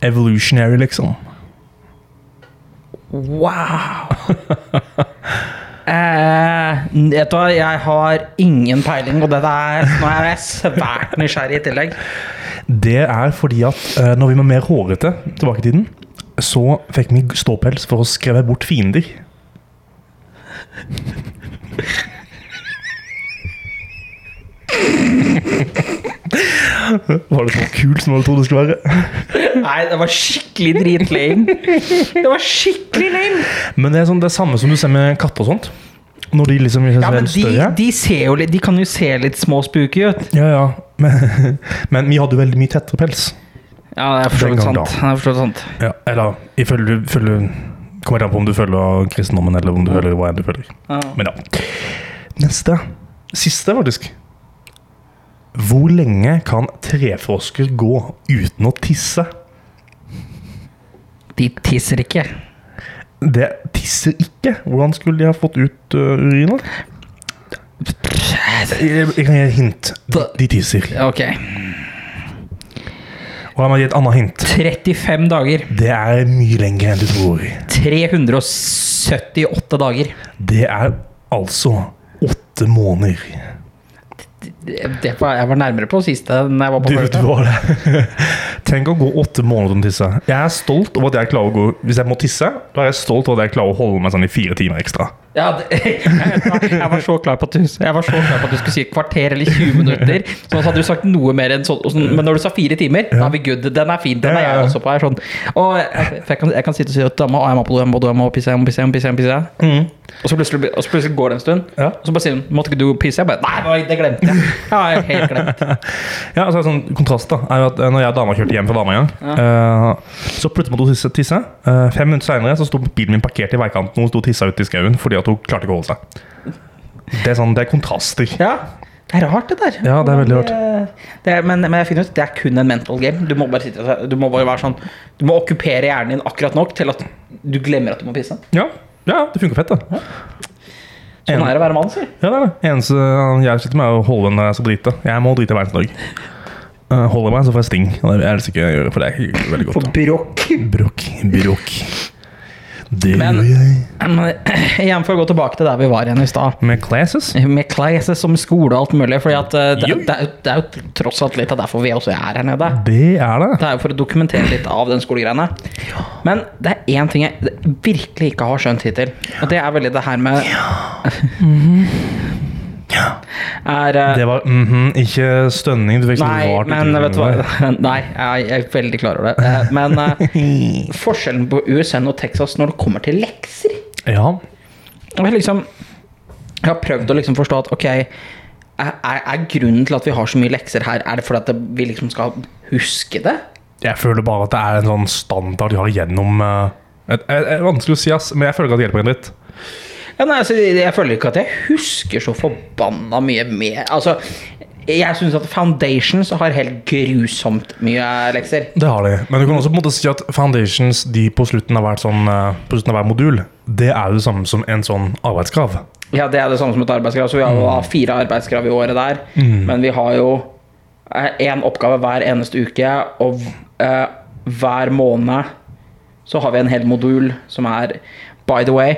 A: Evolutionary, liksom.
B: Wow. Eh, vet du hva, jeg har ingen peiling, og dette er, nå er jeg svært nysgjerrig i tillegg.
A: Det er fordi at eh, når vi var mer hårete tilbake i tiden, så fikk vi ståpels for å skreve bort fiender. Var det så kult som du trodde det skulle være?
B: Nei, det var skikkelig dritlame. Det var skikkelig lame.
A: Men det er sånn, det er samme som du ser med katter og sånt. Når de liksom blir
B: Ja, men
A: litt
B: de,
A: større.
B: de, ser jo litt, de kan jo se litt små spooky ut.
A: Ja, ja. Men, men vi hadde jo veldig mye tettere pels.
B: Ja, det er for så
A: Den
B: vidt
A: gang
B: sant. Det er for så vidt sant.
A: Ja, eller ifølge, ifølge Kommer helt an på om du følger kristendommen, eller om du følger hva enn du følger.
B: Ja.
A: Men ja. Neste. Siste, faktisk. Hvor lenge kan trefrosker gå uten å tisse?
B: De tisser ikke.
A: Det tisser ikke. Hvordan skulle de ha fått ut øh, urinen? Jeg, jeg kan gi et hint. De, de tisser.
B: Ok.
A: Og la meg gi et annet hint.
B: 35 dager.
A: Det er mye lenger enn du tror.
B: 378 dager.
A: Det er altså åtte måneder.
B: Det, det var, jeg var nærmere på siste enn jeg var på
A: Du vet
B: første.
A: hva det Tenk å gå åtte måneder uten å tisse. Jeg er stolt over at jeg klarer å gå Hvis jeg må tisse, da er jeg stolt over at jeg klarer å holde meg sånn i fire timer ekstra.
B: Ja, det, jeg var så klar på at du, jeg var så klar på at du skulle si et kvarter eller 20 minutter. Så hadde du sagt noe mer enn sånn. og sånn, Men når du sa fire timer, da er vi good. Den er fin. Den er jeg også på. Jeg, er sånn. og jeg, for jeg, kan, jeg kan sitte og si at dama, å, jeg må på do, jeg må på do, jeg må pisse, jeg må pisse, jeg må pisse. Jeg må pisse. Og, så plutselig, blir- og så plutselig går det en stund,
A: Ja.
B: og så bare sier hun 'måtte ikke du pisse?' Jeg bare 'nei, nei, det glemte jeg'. Ja, jeg har helt glemt.
A: Ja, altså sånn Kontrast da er jo at eh, når jeg og dama kjørte hjem fra dama en gang, eh, så plutselig måtte hun tisse. tisse. Eh, fem minutter seinere sto bilen min parkert i veikanten, og hun sto og tissa ute i skauen fordi at hun klarte ikke å holde seg. Det er sånn, det er kontraster.
B: Ja. Det er rart, det der.
A: Ja, det er veldig rart.
B: Det- Det er, men, men jeg finner ut det er kun en mental game. Du må bare, sitte, du må bare være sånn Du må okkupere hjernen din akkurat nok til at du glemmer at du må pisse.
A: Ja, ja det funker fett, det.
B: Sånn er det å være mann, sier
A: Ja, det er det. Eneste jeg sliter med, er å holde når jeg skal drite. Jeg må drite hver eneste dag. Eh, Holder jeg meg, så får jeg sting. Og det er det ikke jeg gjør, for det er ikke veldig
B: For
A: godt.
B: brokk.
A: Bråk. Bråk. Det
B: Men-
A: gjør jeg.
B: Men, eh, Igjen får jeg gå tilbake til der vi var igjen i stad.
A: Med classes?
B: Med classes som skole og alt mulig. Fordi at eh, det,
A: Jo.
B: det, er, jo- det er jo tross alt litt av derfor vi også er her nede.
A: Det er det.
B: Det er jo for å dokumentere litt av den skolegreiene. Men det er én ting jeg virkelig ikke har skjønt hittil, og det er veldig det her med er, eh,
A: Det var mhm, ikke stønning. Du fikk sånn
B: Nei,
A: rart
B: men
A: uttrykk
B: vet du hva Nei, jeg er veldig klar over det. Eh, Men eh, forskjellen på USN og Texas når det kommer til lekser
A: Ja.
B: Jeg, liksom, jeg har prøvd å liksom forstå at ok er, er er grunnen til at vi har så mye lekser her, er det fordi at det- vi liksom skal huske det?
A: Jeg føler bare at det er en sånn standard de har gjennom eh, et, et, et, Vanskelig å si, ass, men jeg føler ikke at det hjelper en dritt.
B: Ja, nei, altså, jeg føler ikke at jeg husker så forbanna mye mer. Altså, jeg syns at Foundations har helt grusomt mye lekser.
A: Det har de. Men du kan også på en måte si at Foundations de på slutten av hvert sånn, eh, på slutten av hver modul, det er jo det samme som en sånn arbeidskrav.
B: Ja, det er det samme som et arbeidskrav. Så vi har jo da fire arbeidskrav i året der. Men vi har jo én oppgave hver eneste uke, og eh, hver måned så har vi en hel modul som er By the way,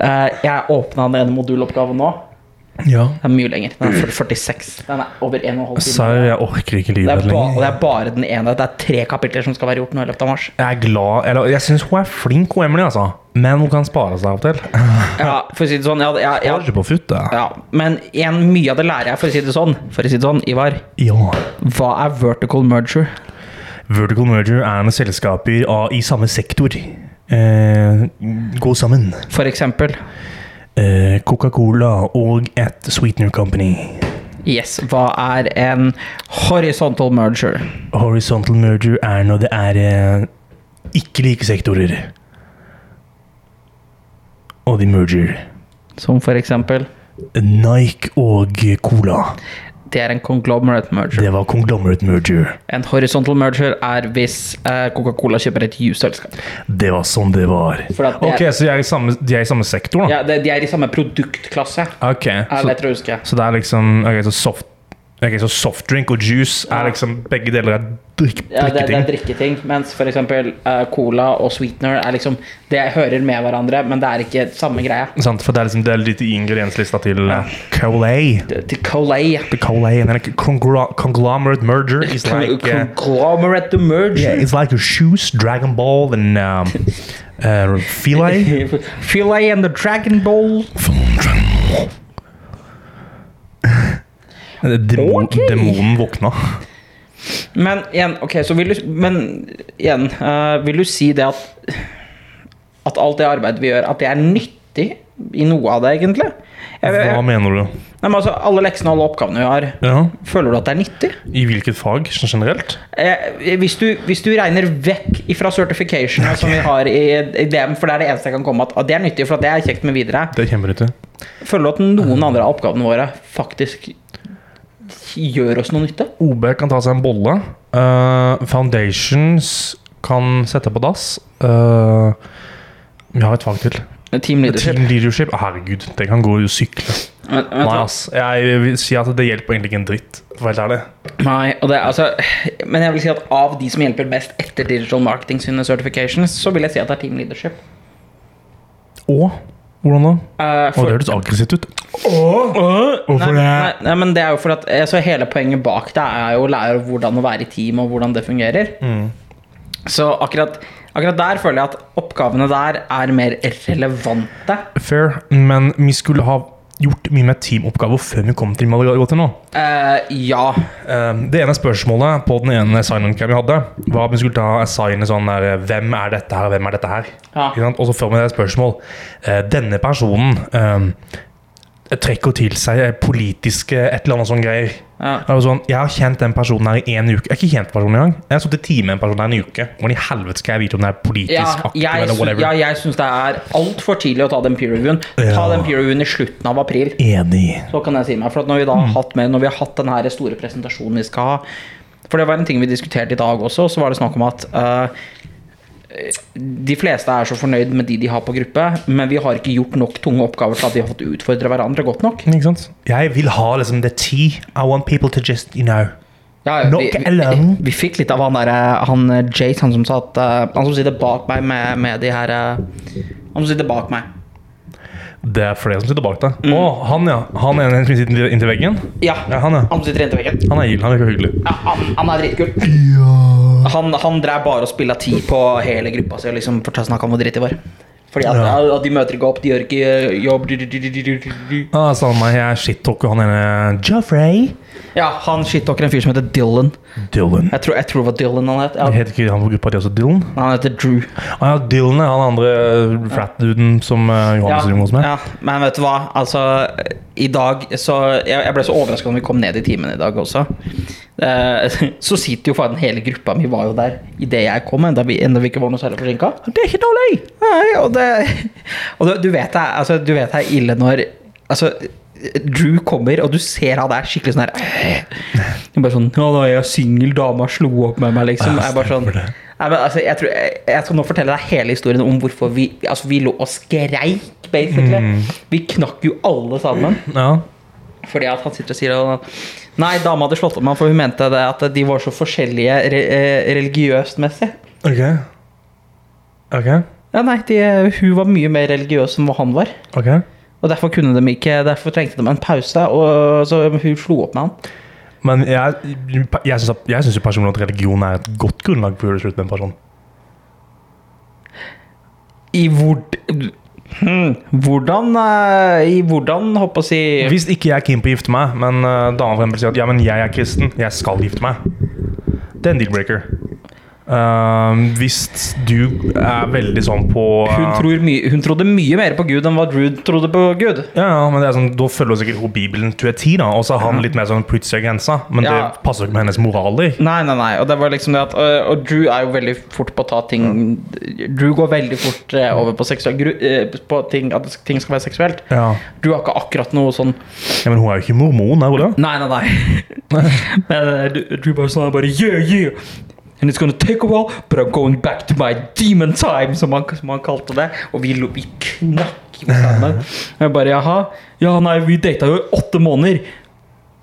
B: eh, jeg åpna den ene moduloppgaven nå.
A: Ja.
B: Den er mye lenger. Den er 46. Den er over en og en halv time.
A: Serr, jeg orker ikke
B: Det er,
A: livet
B: ba,
A: lenger.
B: det er bare den ene. Det er tre kapitler som skal være gjort nå i løpet av mars.
A: Jeg er glad Eller jeg syns hun er flink, hun Emily, altså. Men hun kan spare seg av og til.
B: Ja, for å si det sånn, jeg, hadde- jeg,
A: Jeg
B: jeg,
A: har ikke på futt, det.
B: ja, Men igjen, mye av det lærer jeg, for å si det sånn. For å si det sånn, Ivar.
A: Ja.
B: Hva er vertical merger?
A: Vertical merger er når selskaper av, i samme sektor eh, går sammen.
B: For eksempel.
A: Eh, Coca-Cola og et sweetener company.
B: Yes, hva er en horizontal merger?
A: Horizontal merger er når det er eh, ikke like sektorer. Og de merger.
B: Som for eksempel
A: Nike og Cola.
B: Det er en conglomerate merger.
A: Det var conglomerate merger.
B: En horizontal merger er hvis eh, Coca-Cola kjøper et jusselskap.
A: Det var sånn det var.
B: For at det
A: Ok,
B: er-
A: så de er i samme, de er i samme sektor, da?
B: Ja, de, de er i samme produktklasse.
A: Ok,
B: Er
A: så,
B: lett å huske.
A: så det er liksom Ok, så soft Ok, så softdrink og juice
B: Ja.
A: er liksom Begge deler er drikk,
B: Ja, det, det
A: drikketing.
B: er drikketing, mens for eksempel eh, cola og sweetener er liksom Det hører med hverandre, men det er ikke samme greia.
A: Sant, for det er liksom Det er litt i ingredienslista til uh, Colay.
B: Det- Til Colay
A: The Colay and like congra- conglomerate merger is like uh,
B: Conglomerate to
A: Yeah,
B: merge.
A: it's like your shoes, Dragon Ball and um, uh, Filet.
B: Filet and the Dragon Ball.
A: Demon,
B: Ok.
A: Demonen våkna.
B: Men igjen, ok, så vil du Men igjen, eh, vil du si det at At alt det arbeidet vi gjør, at det er nyttig i noe av det, egentlig? Jeg, jeg,
A: Hva
B: nei,
A: mener du?
B: men altså, alle leksene og alle oppgavene vi har,
A: Ja,
B: føler du at det er nyttig?
A: I hvilket fag sånn generelt?
B: Eh, hvis, du, hvis du regner vekk ifra certification som vi har i, i DM, for det er det eneste jeg kan komme at at det er nyttig, for at det er kjekt med videre,
A: Det er kjempenyttig.
B: føler du at noen andre av oppgavene våre faktisk gjør oss noe nytte?
A: OB kan ta seg en bolle. Eh, foundations kan sette på dass. Eh, vi har et fag til.
B: Team leadership.
A: Team leadership. Herregud, det kan gå og sykle.
B: Vent- vent
A: Nei, altså,
B: da.
A: ass. Jeg vil si at det hjelper egentlig ikke en dritt. For å være helt ærlig.
B: Nei, og det, er altså, men jeg vil si at av de som hjelper best etter digital marketing sine certifications, så vil jeg si at det er team leadership.
A: Og hvordan da?
B: Eh,
A: Å,
B: for-
A: det hørtes aggressivt ut.
B: nei,
A: Hvorfor
B: nei, nei, men det er jo for at altså, Hele poenget bak det er jo å lære hvordan å være i team, og hvordan det fungerer.
A: Mm.
B: Så akkurat, akkurat der føler jeg at oppgavene der er mer relevante.
A: Fair, men vi skulle ha gjort mye med teamoppgaver før vi kom til Malaga til nå.
B: Eh, ja.
A: Eh, Det ene spørsmålet på den ene sign-on-cam vi hadde, var at vi skulle ta assigne sånn der eh, Hvem er dette her, og hvem er dette her?
B: Ja.
A: Ikke sant? Og så får vi det spørsmål. Eh, Denne personen eh, trekker til seg eh, politiske et eller annet sånn greier.
B: Ja.
A: Det var sånn, jeg har kjent den personen her i en uke. Jeg har ikke kjent personen engang. Jeg har sittet i time med en person her i en uke. Hvordan i helvete skal jeg vite om den er politisk
B: Ja,
A: aktiv
B: jeg,
A: eller
B: sy-
A: whatever?
B: ja, jeg syns det er altfor tidlig å ta den peer reviewen. Ta
A: Ja.
B: den peer reviewen i slutten av april.
A: Enig.
B: Så kan jeg si meg, for at når vi da
A: Mm.
B: har hatt med Når vi har hatt den her store presentasjonen vi skal ha For det var en ting vi diskuterte i dag også Så var det snakk om at eh, De fleste er så fornøyd med de de har på gruppe Men vi har ikke gjort nok tunge oppgaver Til at de har fått utfordre hverandre godt nok
A: Ikke sant? Jeg vil ha liksom the tea. I want people to just, you know
B: Ja, ja, vi,
A: Nok
B: vi,
A: alone.
B: vi fikk litt av han der eh, Han eh, Jace, han som satt eh, Han som sitter bak meg med, med de her eh, Han som sitter bak meg
A: Det er flere som sitter bak deg.
B: Mm.
A: Å, han ja. Han er en som sitter inntil veggen.
B: Ja,
A: Ja, han ja.
B: han som sitter inntil veggen
A: Han er gild, han virker hyggelig.
B: Ja, han, han er dritkul. Han, han drev bare og spilla ti på hele gruppa si og liksom fortalte snakka om hvor dritt de var. Fordi at,
A: Ja.
B: at de møter ikke opp, de gjør ikke eh, jobb du, du, du, du, du, du, du.
A: Ah, Samme meg, jeg shit-talker han ene Joffrey.
B: Ja, han shittalker en fyr som heter Dylan.
A: Dylan.
B: Jeg tror, jeg tror det var Dylan han het.
A: Jeg
B: Ja,
A: heter ikke han på gruppa di også Dylan?
B: han heter Drew.
A: Ah, ja, Dylan er han andre eh, frat-duden som eh,
B: Ja,
A: Johannes driver hos meg.
B: ja, men vet du hva? Altså, i dag så Jeg, jeg ble så overraska når vi kom ned i timen i dag også. Eh, så sitter jo faen hele gruppa mi var jo der idet jeg kom, enda vi, enda vi ikke var noe særlig forsinka.
A: Det er ikke dårlig!
B: Nei, og det, og det, du vet det er- altså, du vet det er ille når altså, Drew kommer, og du ser han er skikkelig sånn her Det er Bare sånn Ja, da er jeg singel, dama slo opp med meg, liksom. Jeg er bare sånn Nei, men altså, jeg, tror, jeg, jeg skal nå fortelle deg hele historien om hvorfor vi Altså, vi lå og skreik, basically. Vi knakk jo alle sammen.
A: Ja.
B: Fordi at han sitter og sier at Nei, dama hadde slått opp med ham, for hun mente det at de var så forskjellige re eh, religiøst messig.
A: Ok. Ok.
B: Ja, nei, de, hun var mye mer religiøs enn hva han var.
A: Ok.
B: Og derfor kunne de ikke, derfor trengte de en pause, og så hun slo opp med han.
A: Men jeg, jeg, syns, at- jeg syns jo personlig at religion er et godt grunnlag for å gjøre slutt med en person.
B: I hvor... Hmm, Hvordan, eh, i hvordan, håper jeg å si...
A: Hvis ikke jeg er keen på å gifte meg, men uh, dama for eksempel sier at ja, men jeg er kristen, jeg skal gifte meg. Det er en deal-breaker. Ehm, hvis du er veldig sånn på eh,
B: Hun, tror my, hun trodde mye mer på Gud enn hva Drew trodde på Gud.
A: ja, ja, men det er sånn, Da følger hun sikkert hun Bibelen til et ti, da, og så er han litt mer sånn pretty grensa. Men
B: Ja.
A: det passer jo ikke med hennes moraler.
B: Nei, nei, nei, og det var liksom det at øh, Og Drew er jo veldig fort på å ta ting Drew går veldig fort eh, over på, seksuell, gru- eh, på ting, at ting skal være seksuelt.
A: Ja.
B: Drew har ikke akkurat noe sånn
A: ja, Men hun er jo ikke mormon, er hun det?
B: Nei, nei, nei. Men eh, du- du bare sånn bare Yeah, yeah! And it's gonna take a while, but I'm going back to my demon time, som han, som han kalte det. Og vi, lo- vi knakk jo sammen. Jeg bare jaha? Ja, nei, vi data jo i åtte måneder.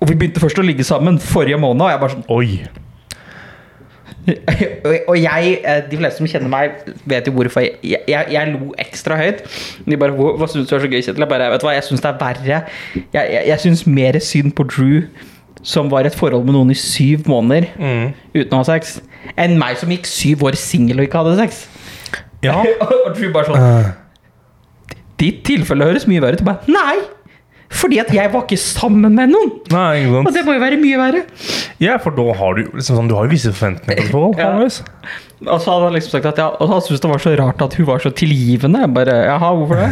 B: Og vi begynte først å ligge sammen forrige måned, og jeg bare sånn
A: Oi.
B: Og- Og jeg, eh, de fleste som kjenner meg, vet jo hvorfor jeg, jeg, jeg, jeg lo ekstra høyt. De bare Hva, hva syns du er så gøy, Kjetil? Jeg bare Vet du hva, jeg syns det er verre. Jeg, jeg, jeg syns mer synd på Drew, som var i et forhold med noen i syv måneder
A: Mm.
B: uten å ha sex, enn meg som gikk syv år singel og ikke hadde sex.
A: Ja.
B: og Drew bare sånn
A: Eh,
B: Ditt tilfelle høres mye verre ut. Jeg bare Nei! Fordi at jeg var ikke sammen med noen!
A: nei, ikke
B: Og
A: sant.
B: det må jo være mye verre.
A: Ja, for da har du liksom sånn, du har jo visse forventninger til et forhold.
B: Ja.
A: vanligvis.
B: Og så hadde han liksom sagt at ja, og han syntes det var så rart at hun var så tilgivende. Jeg Bare, jaha, hvorfor det?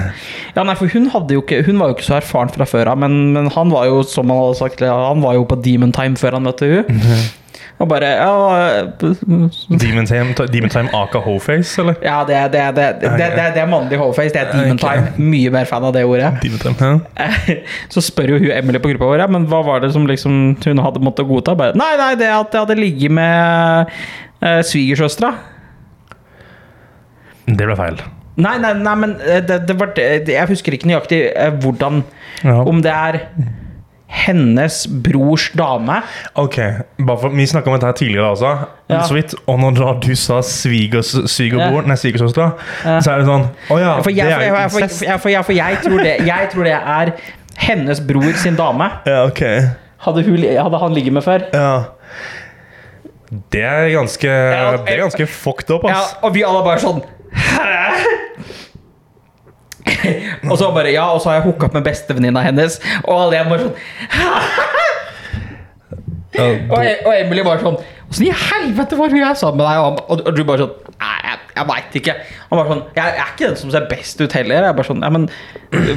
B: Ja, nei, for hun, hadde jo ikke, hun var jo ikke så erfaren fra før av, men, men han var jo som han hadde sagt, ja, han var jo på Demon Time før han møtte hun. Og bare Ja,
A: Demon Time, Demon Time aka Hoface, eller?
B: ja det, det, det, det, det, det, det er mannlig hoveface, det er Demon
A: Ok.
B: Time. Mye mer fan av det ordet.
A: Demon Time, ja.
B: Eh, Så spør jo hun Emily på gruppa vår ja, Men hva var det som liksom hun hadde måttet godta. Bare, nei, nei, det at jeg hadde ligget med eh, svigersøstera.
A: Det ble feil.
B: Nei, nei, nei, men eh, det, det var det, Jeg husker ikke nøyaktig eh, hvordan
A: Ja.
B: Om det er hennes brors dame.
A: Ok, bare for, Vi snakka om dette her tidligere også,
B: Ja.
A: så vidt. Og når da du sa svigers, svigerbroren,
B: Ja.
A: nei, svigersøstera,
B: Ja.
A: så er det sånn Å ja,
B: For jeg,
A: det
B: for,
A: er jo
B: jeg, for,
A: incest.
B: jeg, for, jeg, for jeg tror det Jeg tror det er hennes bror sin dame.
A: Ja, ok.
B: Hadde, hun, li- hadde han ligget med før.
A: Ja. Det er ganske Det er ganske fucked up,
B: Ja,
A: ass.
B: og vi alle bare sånn Hæ? og så bare Ja, og så har jeg hooka opp med bestevenninna hennes, og alle jeg bare sånn
A: Ja,
B: Og, og Emily bare sånn Åssen i helvete var hun jeg sammen med deg? Og, han, og, og du bare sånn Nei, jeg, jeg veit ikke. Han bare sånn Jeg er ikke den som ser best ut heller. Jeg bare sånn Ja, men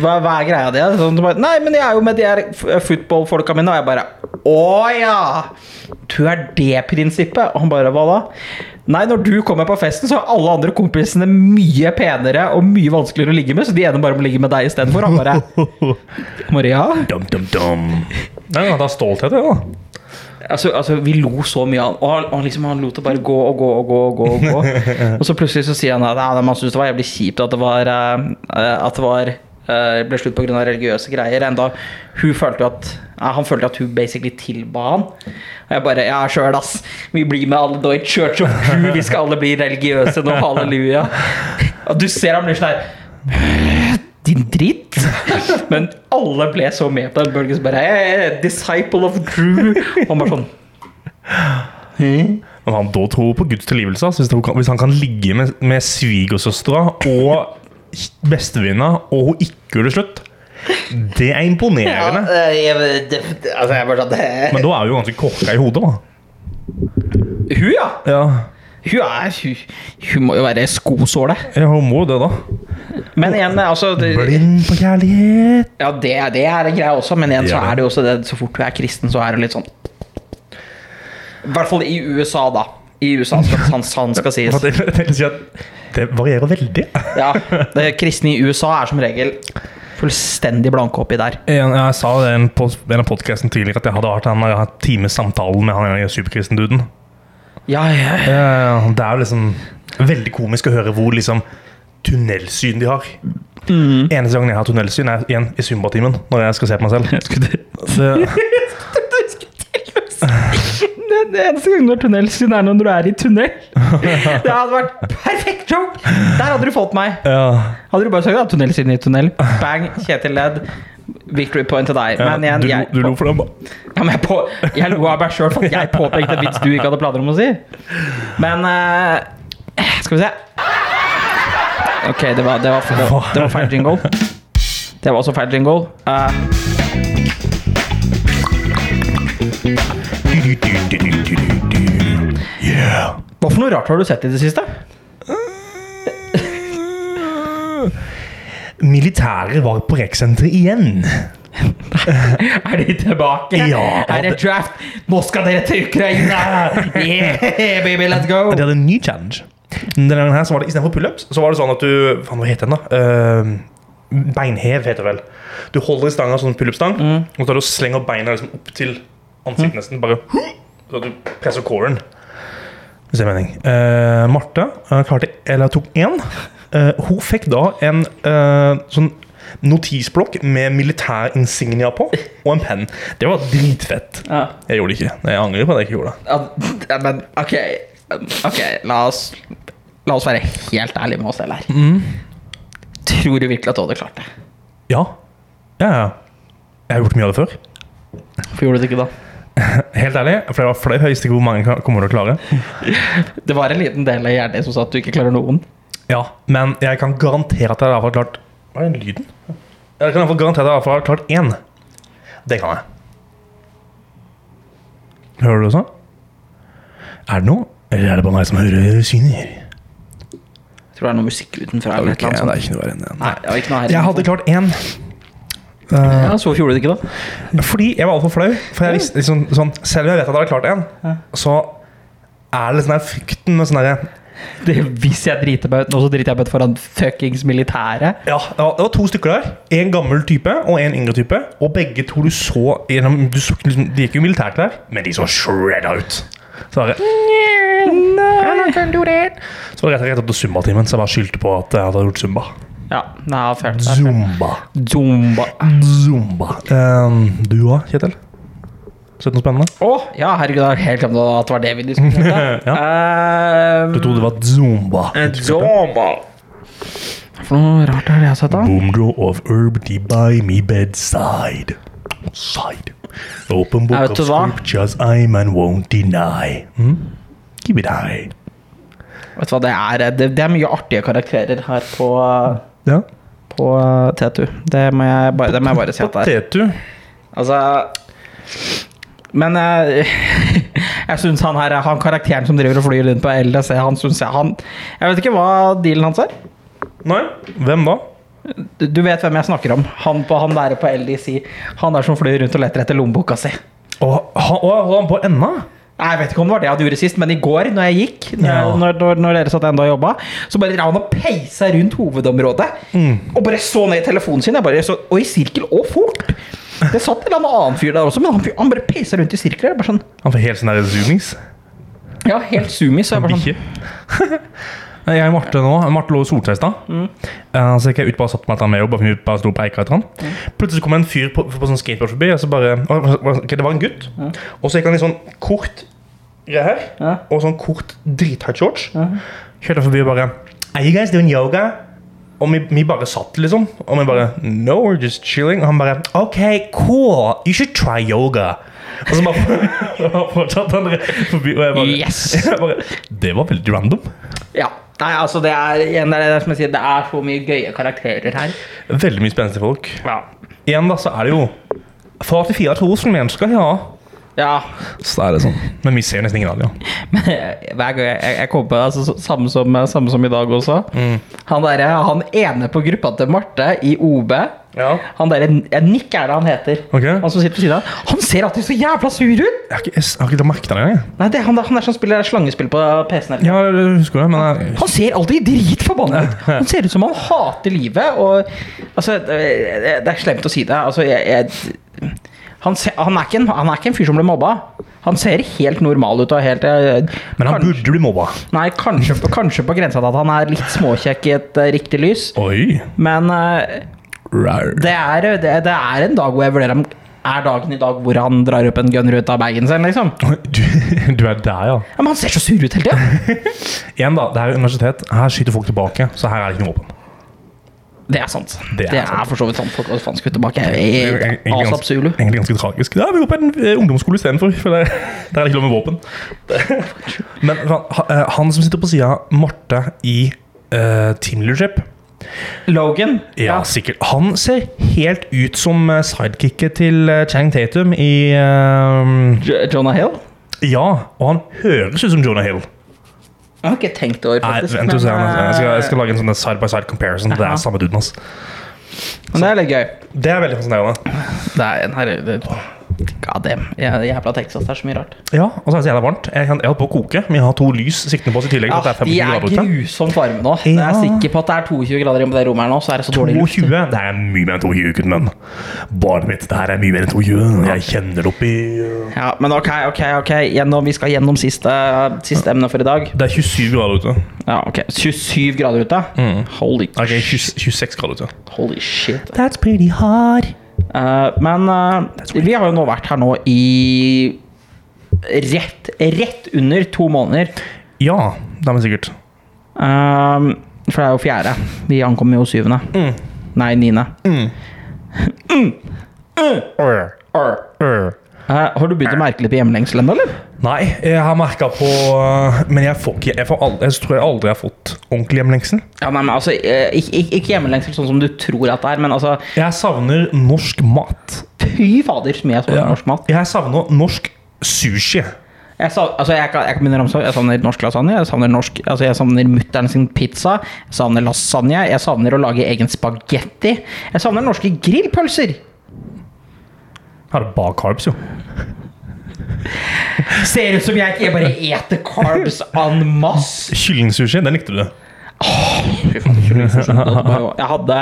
B: hva, hva er greia di? Sånn, så bare, Nei, men jeg er jo med de her f- eh, footballfolka mine. Og jeg bare Å ja! Du er det prinsippet? Og han bare Hva da? Nei, når du kommer på festen, så er alle andre kompisene mye penere og mye vanskeligere å ligge med, så de ender bare med å ligge med deg istedenfor. Han bare Maria?
A: Dum, dum, dum. Nei, han har stolthet, det, da.
B: Altså, altså, vi lo så mye av han, og han, og han liksom, han lot det bare gå og gå og gå. Og gå, og gå. Og så plutselig så sier han at «Nei, man syntes det var jævlig kjipt at det var, eh, eh, at det var eh, ble slutt pga. religiøse greier. Enda hun følte jo at eh, han følte at hun basically tilba han. Og jeg bare Ja, sjøl, ass. Vi blir med alle Deutsche Church of Crew. Vi skal alle bli religiøse nå. Halleluja. Og du ser han blir sånn her din dritt. Men alle ble så med på den bølgen. Så bare «Jeg er Disciple of Drew. Og han bare sånn
A: Men han da tror på Guds tilgivelse. ass. Hvis, hun kan- hvis han kan ligge med, med svigersøstera og bestevenninna, og hun ikke gjør det slutt, det er imponerende.
B: eh, altså, jeg bare sånn
A: Men da er vi jo ganske korka i hodet, da.
B: Hun, ja!
A: Ja,
B: Hun, er, hun, hun må jo være skosåle.
A: hun må jo det, da.
B: Men igjen, altså det,
A: Blind på kjærlighet.
B: ja, det, det er en greie også, men igjen så
A: Ja.
B: er det jo også det, så fort hun er kristen, så er det litt sånn I hvert fall i USA, da. I USA, skal han, han skal sies.
A: Det, det, vil si at det varierer veldig.
B: Ja, det Kristne i USA er som regel fullstendig blanke oppi der.
A: En, jeg sa det i en på en av podcasten tidligere at jeg hadde hatt en jeg hadde hatt times samtale med han ene superkristenduden.
B: Ja, ja.
A: Eh, Det er jo liksom veldig komisk å høre hvor liksom tunnelsyn de har. Eneste gangen jeg har tunnelsyn, er igjen i Zumba-timen. Når jeg skal se på meg selv. Det,
B: Den eneste gangen du har tunnelsyn, er når du er i tunnel. Det hadde vært perfekt joke! Der hadde du fått meg.
A: ja.
B: Hadde du bare sagt ja, tunnelsyn i tunnel. Bang, Kjetil ledd. Victory point til deg. Men igjen,
A: du,
B: jeg,
A: du lo for den, da.
B: ja, men jeg, på, jeg lo av meg sjøl for at jeg påpekte en vits du ikke hadde planer om å si. Men eh, Skal vi se. Ok, det var, det var, det var, det var feil jingle. Det var også feil jingle. Eh,
A: Yeah.
B: hva for noe rart har du sett i det siste?
A: Militæret var på Rikssenteret igjen.
B: Er de tilbake?
A: Ja,
B: er det
A: det-
B: draft? Nå skal dere til Ukraina! Yeah, baby, let's go!
A: De hadde en ny challenge. Denne gangen her så var det Istedenfor pullups så var det sånn at du Faen, hva heter den, da? Eh, beinhev, heter det vel. Du holder i stanga sånn pullupstang, og så tar du og slenger beina liksom opp til ansiktet nesten. Bare Så at du presser coren. Hvis det er mening. Eh, Marte eh, klarte Eller tok én. Eh, hun fikk da en eh, sånn notisblokk med militær insignia på, og en penn. Det var dritfett.
B: Ja.
A: Jeg gjorde det ikke. Jeg angrer på at jeg ikke gjorde det.
B: Ja, men ok, ok, la oss, la oss være helt ærlige med oss selv her. Tror du virkelig at du hadde klart det?
A: Ja. ja. ja. Jeg har gjort mye av det før.
B: Hvorfor gjorde du det ikke da?
A: Helt ærlig, for det var fløy høyest til hvor mange kan- kommer til å klare.
B: Det var en liten del av hjernen din som sa at du ikke klarer noen.
A: Ja, men jeg kan garantere at jeg i hvert fall har klart Hva er den lyden? Jeg kan i hvert fall garantere at jeg i hvert fall har klart én. Det kan jeg. Hører du det sånn? Er det noe? Eller er det bare meg som hører syner?
B: Jeg tror det er noe musikk utenfra. eller et eller annet sånt.
A: ikke noe verre enn det.
B: Nei, det var ikke noe her.
A: Jeg hadde klart én.
B: Ja, så hvorfor gjorde du det ikke da?
A: Fordi jeg var altfor flau. For jeg visste, liksom, sånn, selv om jeg vet at jeg har klart én, så er det litt sånn der frykten med sånn derre
B: Det, hvis jeg driter meg ut nå, så driter jeg meg ut foran fuckings militæret.
A: Ja, det var, det var to stykker der. En gammel type og en yngre type. Og begge to du så gjennom du så, liksom, De gikk jo i militærklær, men de så shredda ut. Så var det Så var det rett og slett etter Zumba-timen, så jeg bare skyldte på at jeg hadde gjort Zumba.
B: Ja, nei, fair.
A: Zumba.
B: Zumba.
A: Zumba. Ehm, du òg, Kjetil? Sett noe spennende?
B: Å, ja, herregud, jeg har helt glemt at det var det vi diskuterte.
A: Ja.
B: Ehm,
A: Du trodde det var Zumba?
B: Eh, Hva for noe rart er det jeg har sett, da?
A: Boomdro of herb de by me bedside. Side. Open book
B: Jeg vet
A: of
B: du hva?
A: scriptures I man won't deny. Mm? Give it high.
B: Vet du hva det er? Det, det er mye artige karakterer her på,
A: Ja.
B: på eh, Tetu. Det må jeg bare, det må jeg bare si at det er.
A: Tetu.
B: Altså Men jeg, jeg syns han her Han karakteren som driver og flyr rundt på LSE, han syns jeg han Jeg vet ikke hva dealen hans er.
A: Nei, hvem da?
B: Du, du vet hvem jeg snakker om. Han, på, han der på LDC. Han der som flyr rundt og leter etter lommeboka si.
A: Å, ha- å, holder han på ennå?
B: Nei, Jeg vet ikke om det var det han gjorde sist, men i går når jeg gikk, når,
A: Ja.
B: når, når, når dere satt enda og jobba, så bare drev han og peisa rundt hovedområdet. Og bare så ned i telefonen sin. Jeg bare så, og i sirkel, og fort! Det satt en eller annen annen fyr der også, men han, fyr- han bare peisa rundt i sirkler. Jeg Bare sånn,
A: Han får helt sånn der zoomings.
B: ja, helt zoomies. Så jeg bare sånn,
A: Bikkje. Jeg og Marte nå, Marte lå i Solteistad. så gikk jeg ut bare og satte meg etter han med jobb. Bare, for vi bare sto på eika etter han. Plutselig kom en fyr på, på sånn skateboard forbi, og så bare ok, Det var en gutt. Og så gikk han i sånn kort greie her,
B: Ja.
A: og sånn kort drithard shorts. Kjørte forbi og bare Are you guys doing yoga? Og vi, vi bare satt, liksom. Og vi bare No, we're just chilling. Og han bare OK, cool. You should try yoga. Og så bare fortsatte han forbi, og jeg bare
B: Yes!
A: jeg bare, det var veldig random.
B: Ja. Nei, altså, det er, igjen, det er det som jeg sier, det er så mye gøye karakterer her.
A: Veldig mye spennende folk.
B: Ja.
A: Igjen da, så er det jo Fra til fire tusen mennesker, ja.
B: ja.
A: Så er det sånn. Men vi ser nesten ingen av dem. ja.
B: Men hver gang jeg, jeg kommer på det, altså, så- samme,
A: Mm.
B: som, samme som i dag også Han, der, han ene på gruppa til Marte i OB
A: Ja.
B: Han der, ja, Nick er det han heter.
A: Ok.
B: Han som sitter ved siden av. Han ser alltid så jævla sur ut!
A: Jeg har ikke, jeg har ikke merket det engang. jeg.
B: Nei, det er han, der- han er som spiller slangespill på PC-en. eller noe.
A: Ja, jeg husker det, men eh, jeg,
B: Han ser alltid dritforbanna ut! Han ser ut som han hater livet. Og, altså, det det er slemt å si det. Altså, jeg, jeg, han, ser, han, er ikke en, han er ikke en fyr som ble mobba. Han ser helt normal ut. Og helt, eh, jeg-
A: men han
B: kanskje-
A: burde bli mobba.
B: Nei, kanskje, på- kanskje på grensa til at han er litt småkjekk i et eh, riktig lys.
A: Oi.
B: Men eh,
A: Rar.
B: det, er, eh, det, det er en dag hvor jeg vurderer om er dagen i dag hvor han drar opp en gunner ut av bagen sin, liksom.
A: Du, du er der, ja.
B: Ja, men han ser så sur ut hele tida!
A: Igjen, da. Det er jo universitet. Her skyter folk tilbake, så her er det ikke noe våpen.
B: Det er sant.
A: Det
B: Det
A: er
B: er,
A: sant.
B: for så vidt sant. Folk hva faen skulle tilbake. Jeg
A: Det er
B: er
A: egentlig ganske-
B: Asap Zulu.
A: Egentlig ganske tragisk. Da er vi jo på en eh, ungdomsskole istedenfor, for der, der er det ikke lov med våpen. Men han, han- eh, han som sitter på sida, Marte i eh, Team Leadership
B: Logan.
A: ja, sikkert. Han ser helt ut som eh, sidekicket til eh, Chang Tatum i eh,
B: J- Jonah Hill.
A: Ja, og han høres ut som Jonah Hill.
B: Jeg har ikke tenkt over
A: Nei,
B: faktisk. eh,
A: vent, du ser, han, altså. jeg, skal, jeg skal lage en sånn side-by-side comparison. Det
B: Ja.
A: er samme duden, ass.
B: eh, men det er litt gøy.
A: Det er veldig fascinerende.
B: Det er en herre det- God damn. Jeg- Jævla Texas, det er så mye rart.
A: Ja, Og så er det så jævla varmt. Jeg, kan- jeg holdt på å koke, men jeg har to lys siktende på oss i tillegg. til
B: Ja,
A: at det
B: Ah, de
A: er 25
B: er
A: grader ute.
B: grusomt varme nå. Jeg
A: Ja.
B: er sikker på at det er 22 grader inne på det rommet her nå, så er det så dårlig luft.
A: 22? Det er mye mer enn 22, gutten min. Barnet mitt, det her er mye mer enn 22. Jeg kjenner det oppi uh,
B: Ja, men ok, ok, ok. Gjennom, vi skal gjennom siste, siste emne for i dag.
A: Det er 27 grader ute.
B: Ja, ok. 27 grader ute. Holy,
A: Ok, 20, 26 grader ute.
B: holy shit.
A: That's pretty hard.
B: Eh, men eh, vi har jo nå vært her nå i rett, rett under to måneder.
A: Ja, det er vi sikkert.
B: Eh, for det er jo fjerde. Vi ankommer jo syvende. Nei, niende. Øh,
A: Ør,
B: Arr.
A: ør.
B: Eh, har du begynt å merke litt på hjemlengsel ennå, eller?
A: Nei, jeg har merka på uh, Men jeg får ikke Jeg, får aldri, jeg tror jeg aldri har fått ordentlig hjemlengsel.
B: Ja, nei, men altså, eh, ikke, ikke- ikke hjemlengsel sånn som du tror at det er, men altså
A: Jeg savner norsk mat.
B: Fy fader, så mye jeg savner norsk mat.
A: Jeg savner norsk sushi.
B: Jeg, sa, altså, jeg, kan, jeg kan begynne å ramse opp. Jeg savner norsk lasagne. Jeg savner, norsk- altså, jeg savner mutter'n sin pizza. Jeg savner lasagne. Jeg savner å lage egen spagetti. Jeg savner norske grillpølser.
A: Her er det bare carbs, jo.
B: Ser ut som jeg ikke jeg bare eter carbs en masse.
A: Kyllingsushi, den likte du.
B: Fy faen, det er ikke så godt. Det var jo- Jeg hadde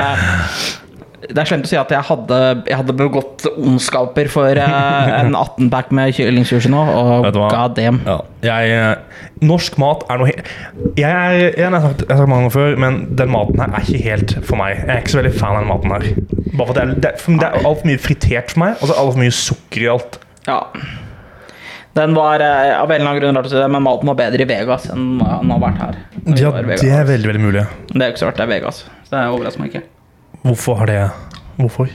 B: det er slemt å si at jeg hadde, jeg hadde begått ondskaper for eh, en 18-pack med kyllingsushi nå. Og
A: Vet du hva?
B: god damn.
A: Ja. Jeg, eh, norsk mat er noe helt Jeg er jeg har sagt, jeg har sagt mange ganger før, men den maten her er ikke helt for meg. Jeg er ikke så veldig fan av den maten her. Bare for Det er, det, er- for det er altfor mye fritert for meg, og så er det altfor mye sukker i alt.
B: Ja. Den var eh, av en eller annen grunn rart å si det, men maten var bedre i Vegas enn hva den har vært her. Når vi
A: Ja,
B: var i
A: det
B: Vegas.
A: er veldig, veldig mulig.
B: Det er jo ikke så rart, det er Vegas. Så det overrasker meg ikke.
A: Hvorfor har det Hvorfor?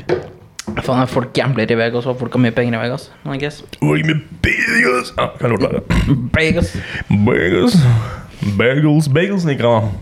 B: Faen, folk gambler i Vegas, og folk har mye penger i Vegas. I guess.
A: Hvor mye bagels? Ja, kan jeg lort være.
B: Vegas.
A: Bagels, bagels, bagels liker jeg.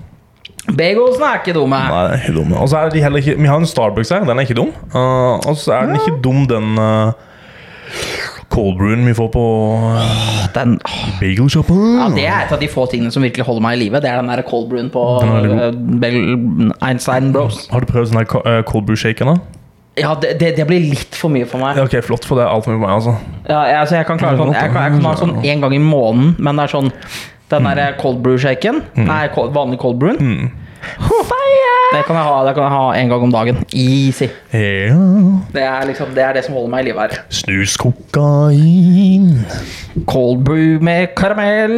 B: Bagelsen er ikke dumme.
A: Nei, den er ikke dum. Og så er de heller ikke Vi har en Starbucks her, den er ikke dum. Eh, og så er den ikke dum, den uh, cold brewen vi får på uh,
B: Den, åh.
A: bagelsjappa.
B: ja, det er et av de få tingene som virkelig holder meg i live. Det er den der cold brewen på
A: Den er veldig god.
B: eh, Bagel- Einstein Bros.
A: Har du prøvd sånn her co- eh, cold brew-shaken, da?
B: Ja, det, det, det blir litt for mye for meg.
A: Ja, ok, flott, for det er alt for mye for meg, altså.
B: Ja, jeg, altså, jeg kan klare sånn Jeg kan, jeg kan ha sånn én gang i måneden, men det er sånn den der cold brew-shaken Nei, cold, vanlig cold brew. Det kan jeg ha det kan jeg ha en gang om dagen. Easy.
A: Ja.
B: Det er liksom, det er det som holder meg i live her.
A: Snus, kokain,
B: Cold brew med karamell.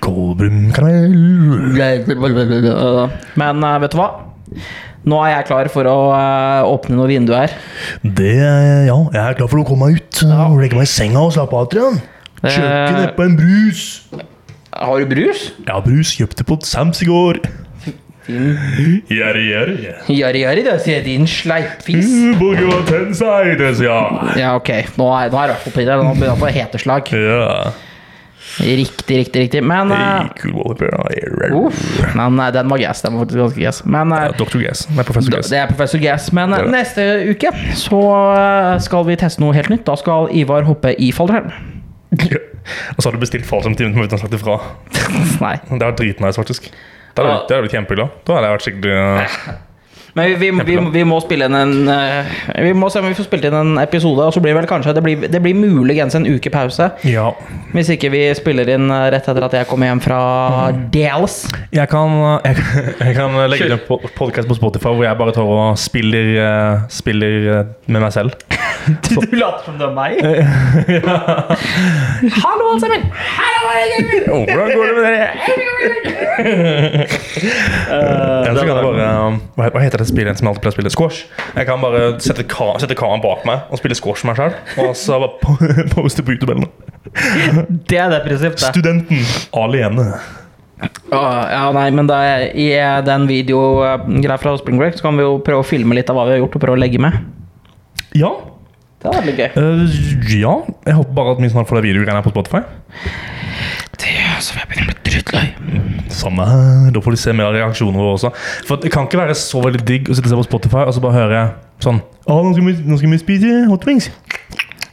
A: cold brew, karamell
B: Men eh, vet du hva? Nå er jeg klar for å eh, åpne noen vinduer her.
A: Det er Ja, jeg er klar for å komme meg ut og legge meg i senga og slappe av, Adrian.
B: Det-
A: Kjøpte nedpå en brus.
B: Har du brus?
A: Ja, brus kjøpte på Sams i går. Gjerri, gjerri.
B: Jari, jari, det sier din sleipfis.
A: Burger Tensei, det sier jeg.
B: Ja, ok. Nå er, nå er jeg i hvert fall på det. Nå begynner jeg å få heteslag.
A: Ja.
B: Riktig, riktig, riktig. Men eh,
A: Hey, cool Wallaper.
B: uff, men, eh, den var gass. Den var faktisk ganske gass. Men eh,
A: Dr. Gas. Nei, professor Gas.
B: det er professor Gass. Men eh,
A: Det er det.
B: neste uke så eh, skal vi teste noe helt nytt. Da skal Ivar hoppe i fallskjerm.
A: Og så har du bestilt fallskjermtime uten å ha sagt ifra.
B: Nei.
A: Det var dritnice, faktisk. Da hadde jeg blitt- da hadde jeg blitt kjempeglad. Da hadde jeg vært skikkelig
B: Men vi, vi, vi, vi, må spille inn en eh, Vi må se om vi får spilt inn en episode, og så blir det vel kanskje Det blir, det blir muligens en uke pause.
A: Ja.
B: Hvis ikke vi spiller inn eh, rett etter at jeg kommer hjem fra Mm. Dallas.
A: Jeg kan, jeg, kan- jeg kan legge ut en podkast på Spotify hvor jeg bare tar og spiller, eh, spiller eh, med meg selv.
B: Du, later som det er meg? Hallo, alle sammen! Hallo, Jørgen!
A: Hvordan går det med dere? Eller så kan jeg bare um, Hva hva heter det spillet som jeg alltid pleier å spille? Squash. Jeg kan bare sette, ka sette kameraet bak meg og spille squash med meg selv Og så bare po- poste på YouTube eller noe.
B: Det er depressivt, det.
A: Studenten alene.
B: Åh, ja, nei, men det er, I eh, den videogreia fra Spring Break så kan vi jo prøve å filme litt av hva vi har gjort, og prøve å legge med.
A: Ja.
B: Det hadde vært gøy.
A: eh, ja. Jeg håper bare at vi snart får det videogreiene her på Spotify.
B: Det, så får jeg begynne å bli drittlei.
A: Samme her. Da får de se mer av reaksjonene våre også. For det kan ikke være så veldig digg å sitte og se på Spotify og så bare høre sånn Å, nå skal vi, nå skal vi spise hot wings.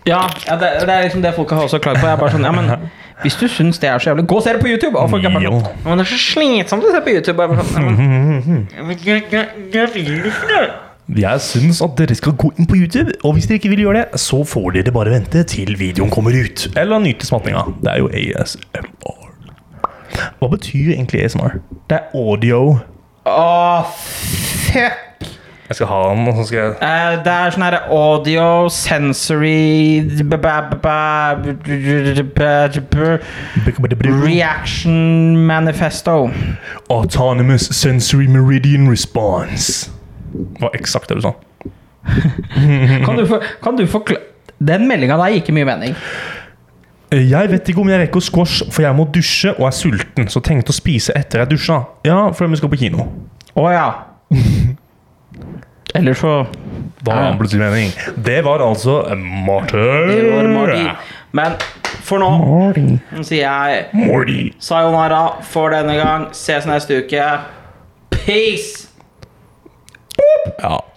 B: Ja, ja det, det er liksom det folk har også klaget på. Jeg er bare sånn, ja, men Hvis du syns det er så jævlig, gå og se det på YouTube! Og folk er bare sånn,
A: Jo.
B: «Å, men det er så slitsomt å se på YouTube. Jeg er bare sånn, ja, men, jeg, jeg, jeg vil ikke det.
A: Jeg syns at dere skal gå inn på YouTube, og hvis dere ikke vil gjøre det, så får dere bare vente til videoen kommer ut. Eller nyte smattinga. Det er jo ASMR. Hva betyr egentlig ASMR? Det er audio.
B: Åh, fuck!
A: Jeg skal ha den, og så skal jeg
B: Eh, det er sånn her audio, sensory ba- ba- ba- ba- ba- ba- Reaction manifesto.
A: Autonomous sensory meridian response. Hva eksakt er det du sa?
B: Kan du, for, kan du forklare Den meldinga der gir ikke mye mening.
A: Eh, Jeg vet ikke om jeg rekker å squash, for jeg må dusje og er sulten. Så tenkte å spise etter jeg dusja. Ja, fordi vi skal på kino.
B: Å ja. Eller så
A: Da har han plutselig mening. Det var altså Martin.
B: Det var Marty. Men for nå
A: Marty.
B: sier jeg
A: Morty.
B: sayonara for denne gang. Ses neste uke. Peace!
A: Ja.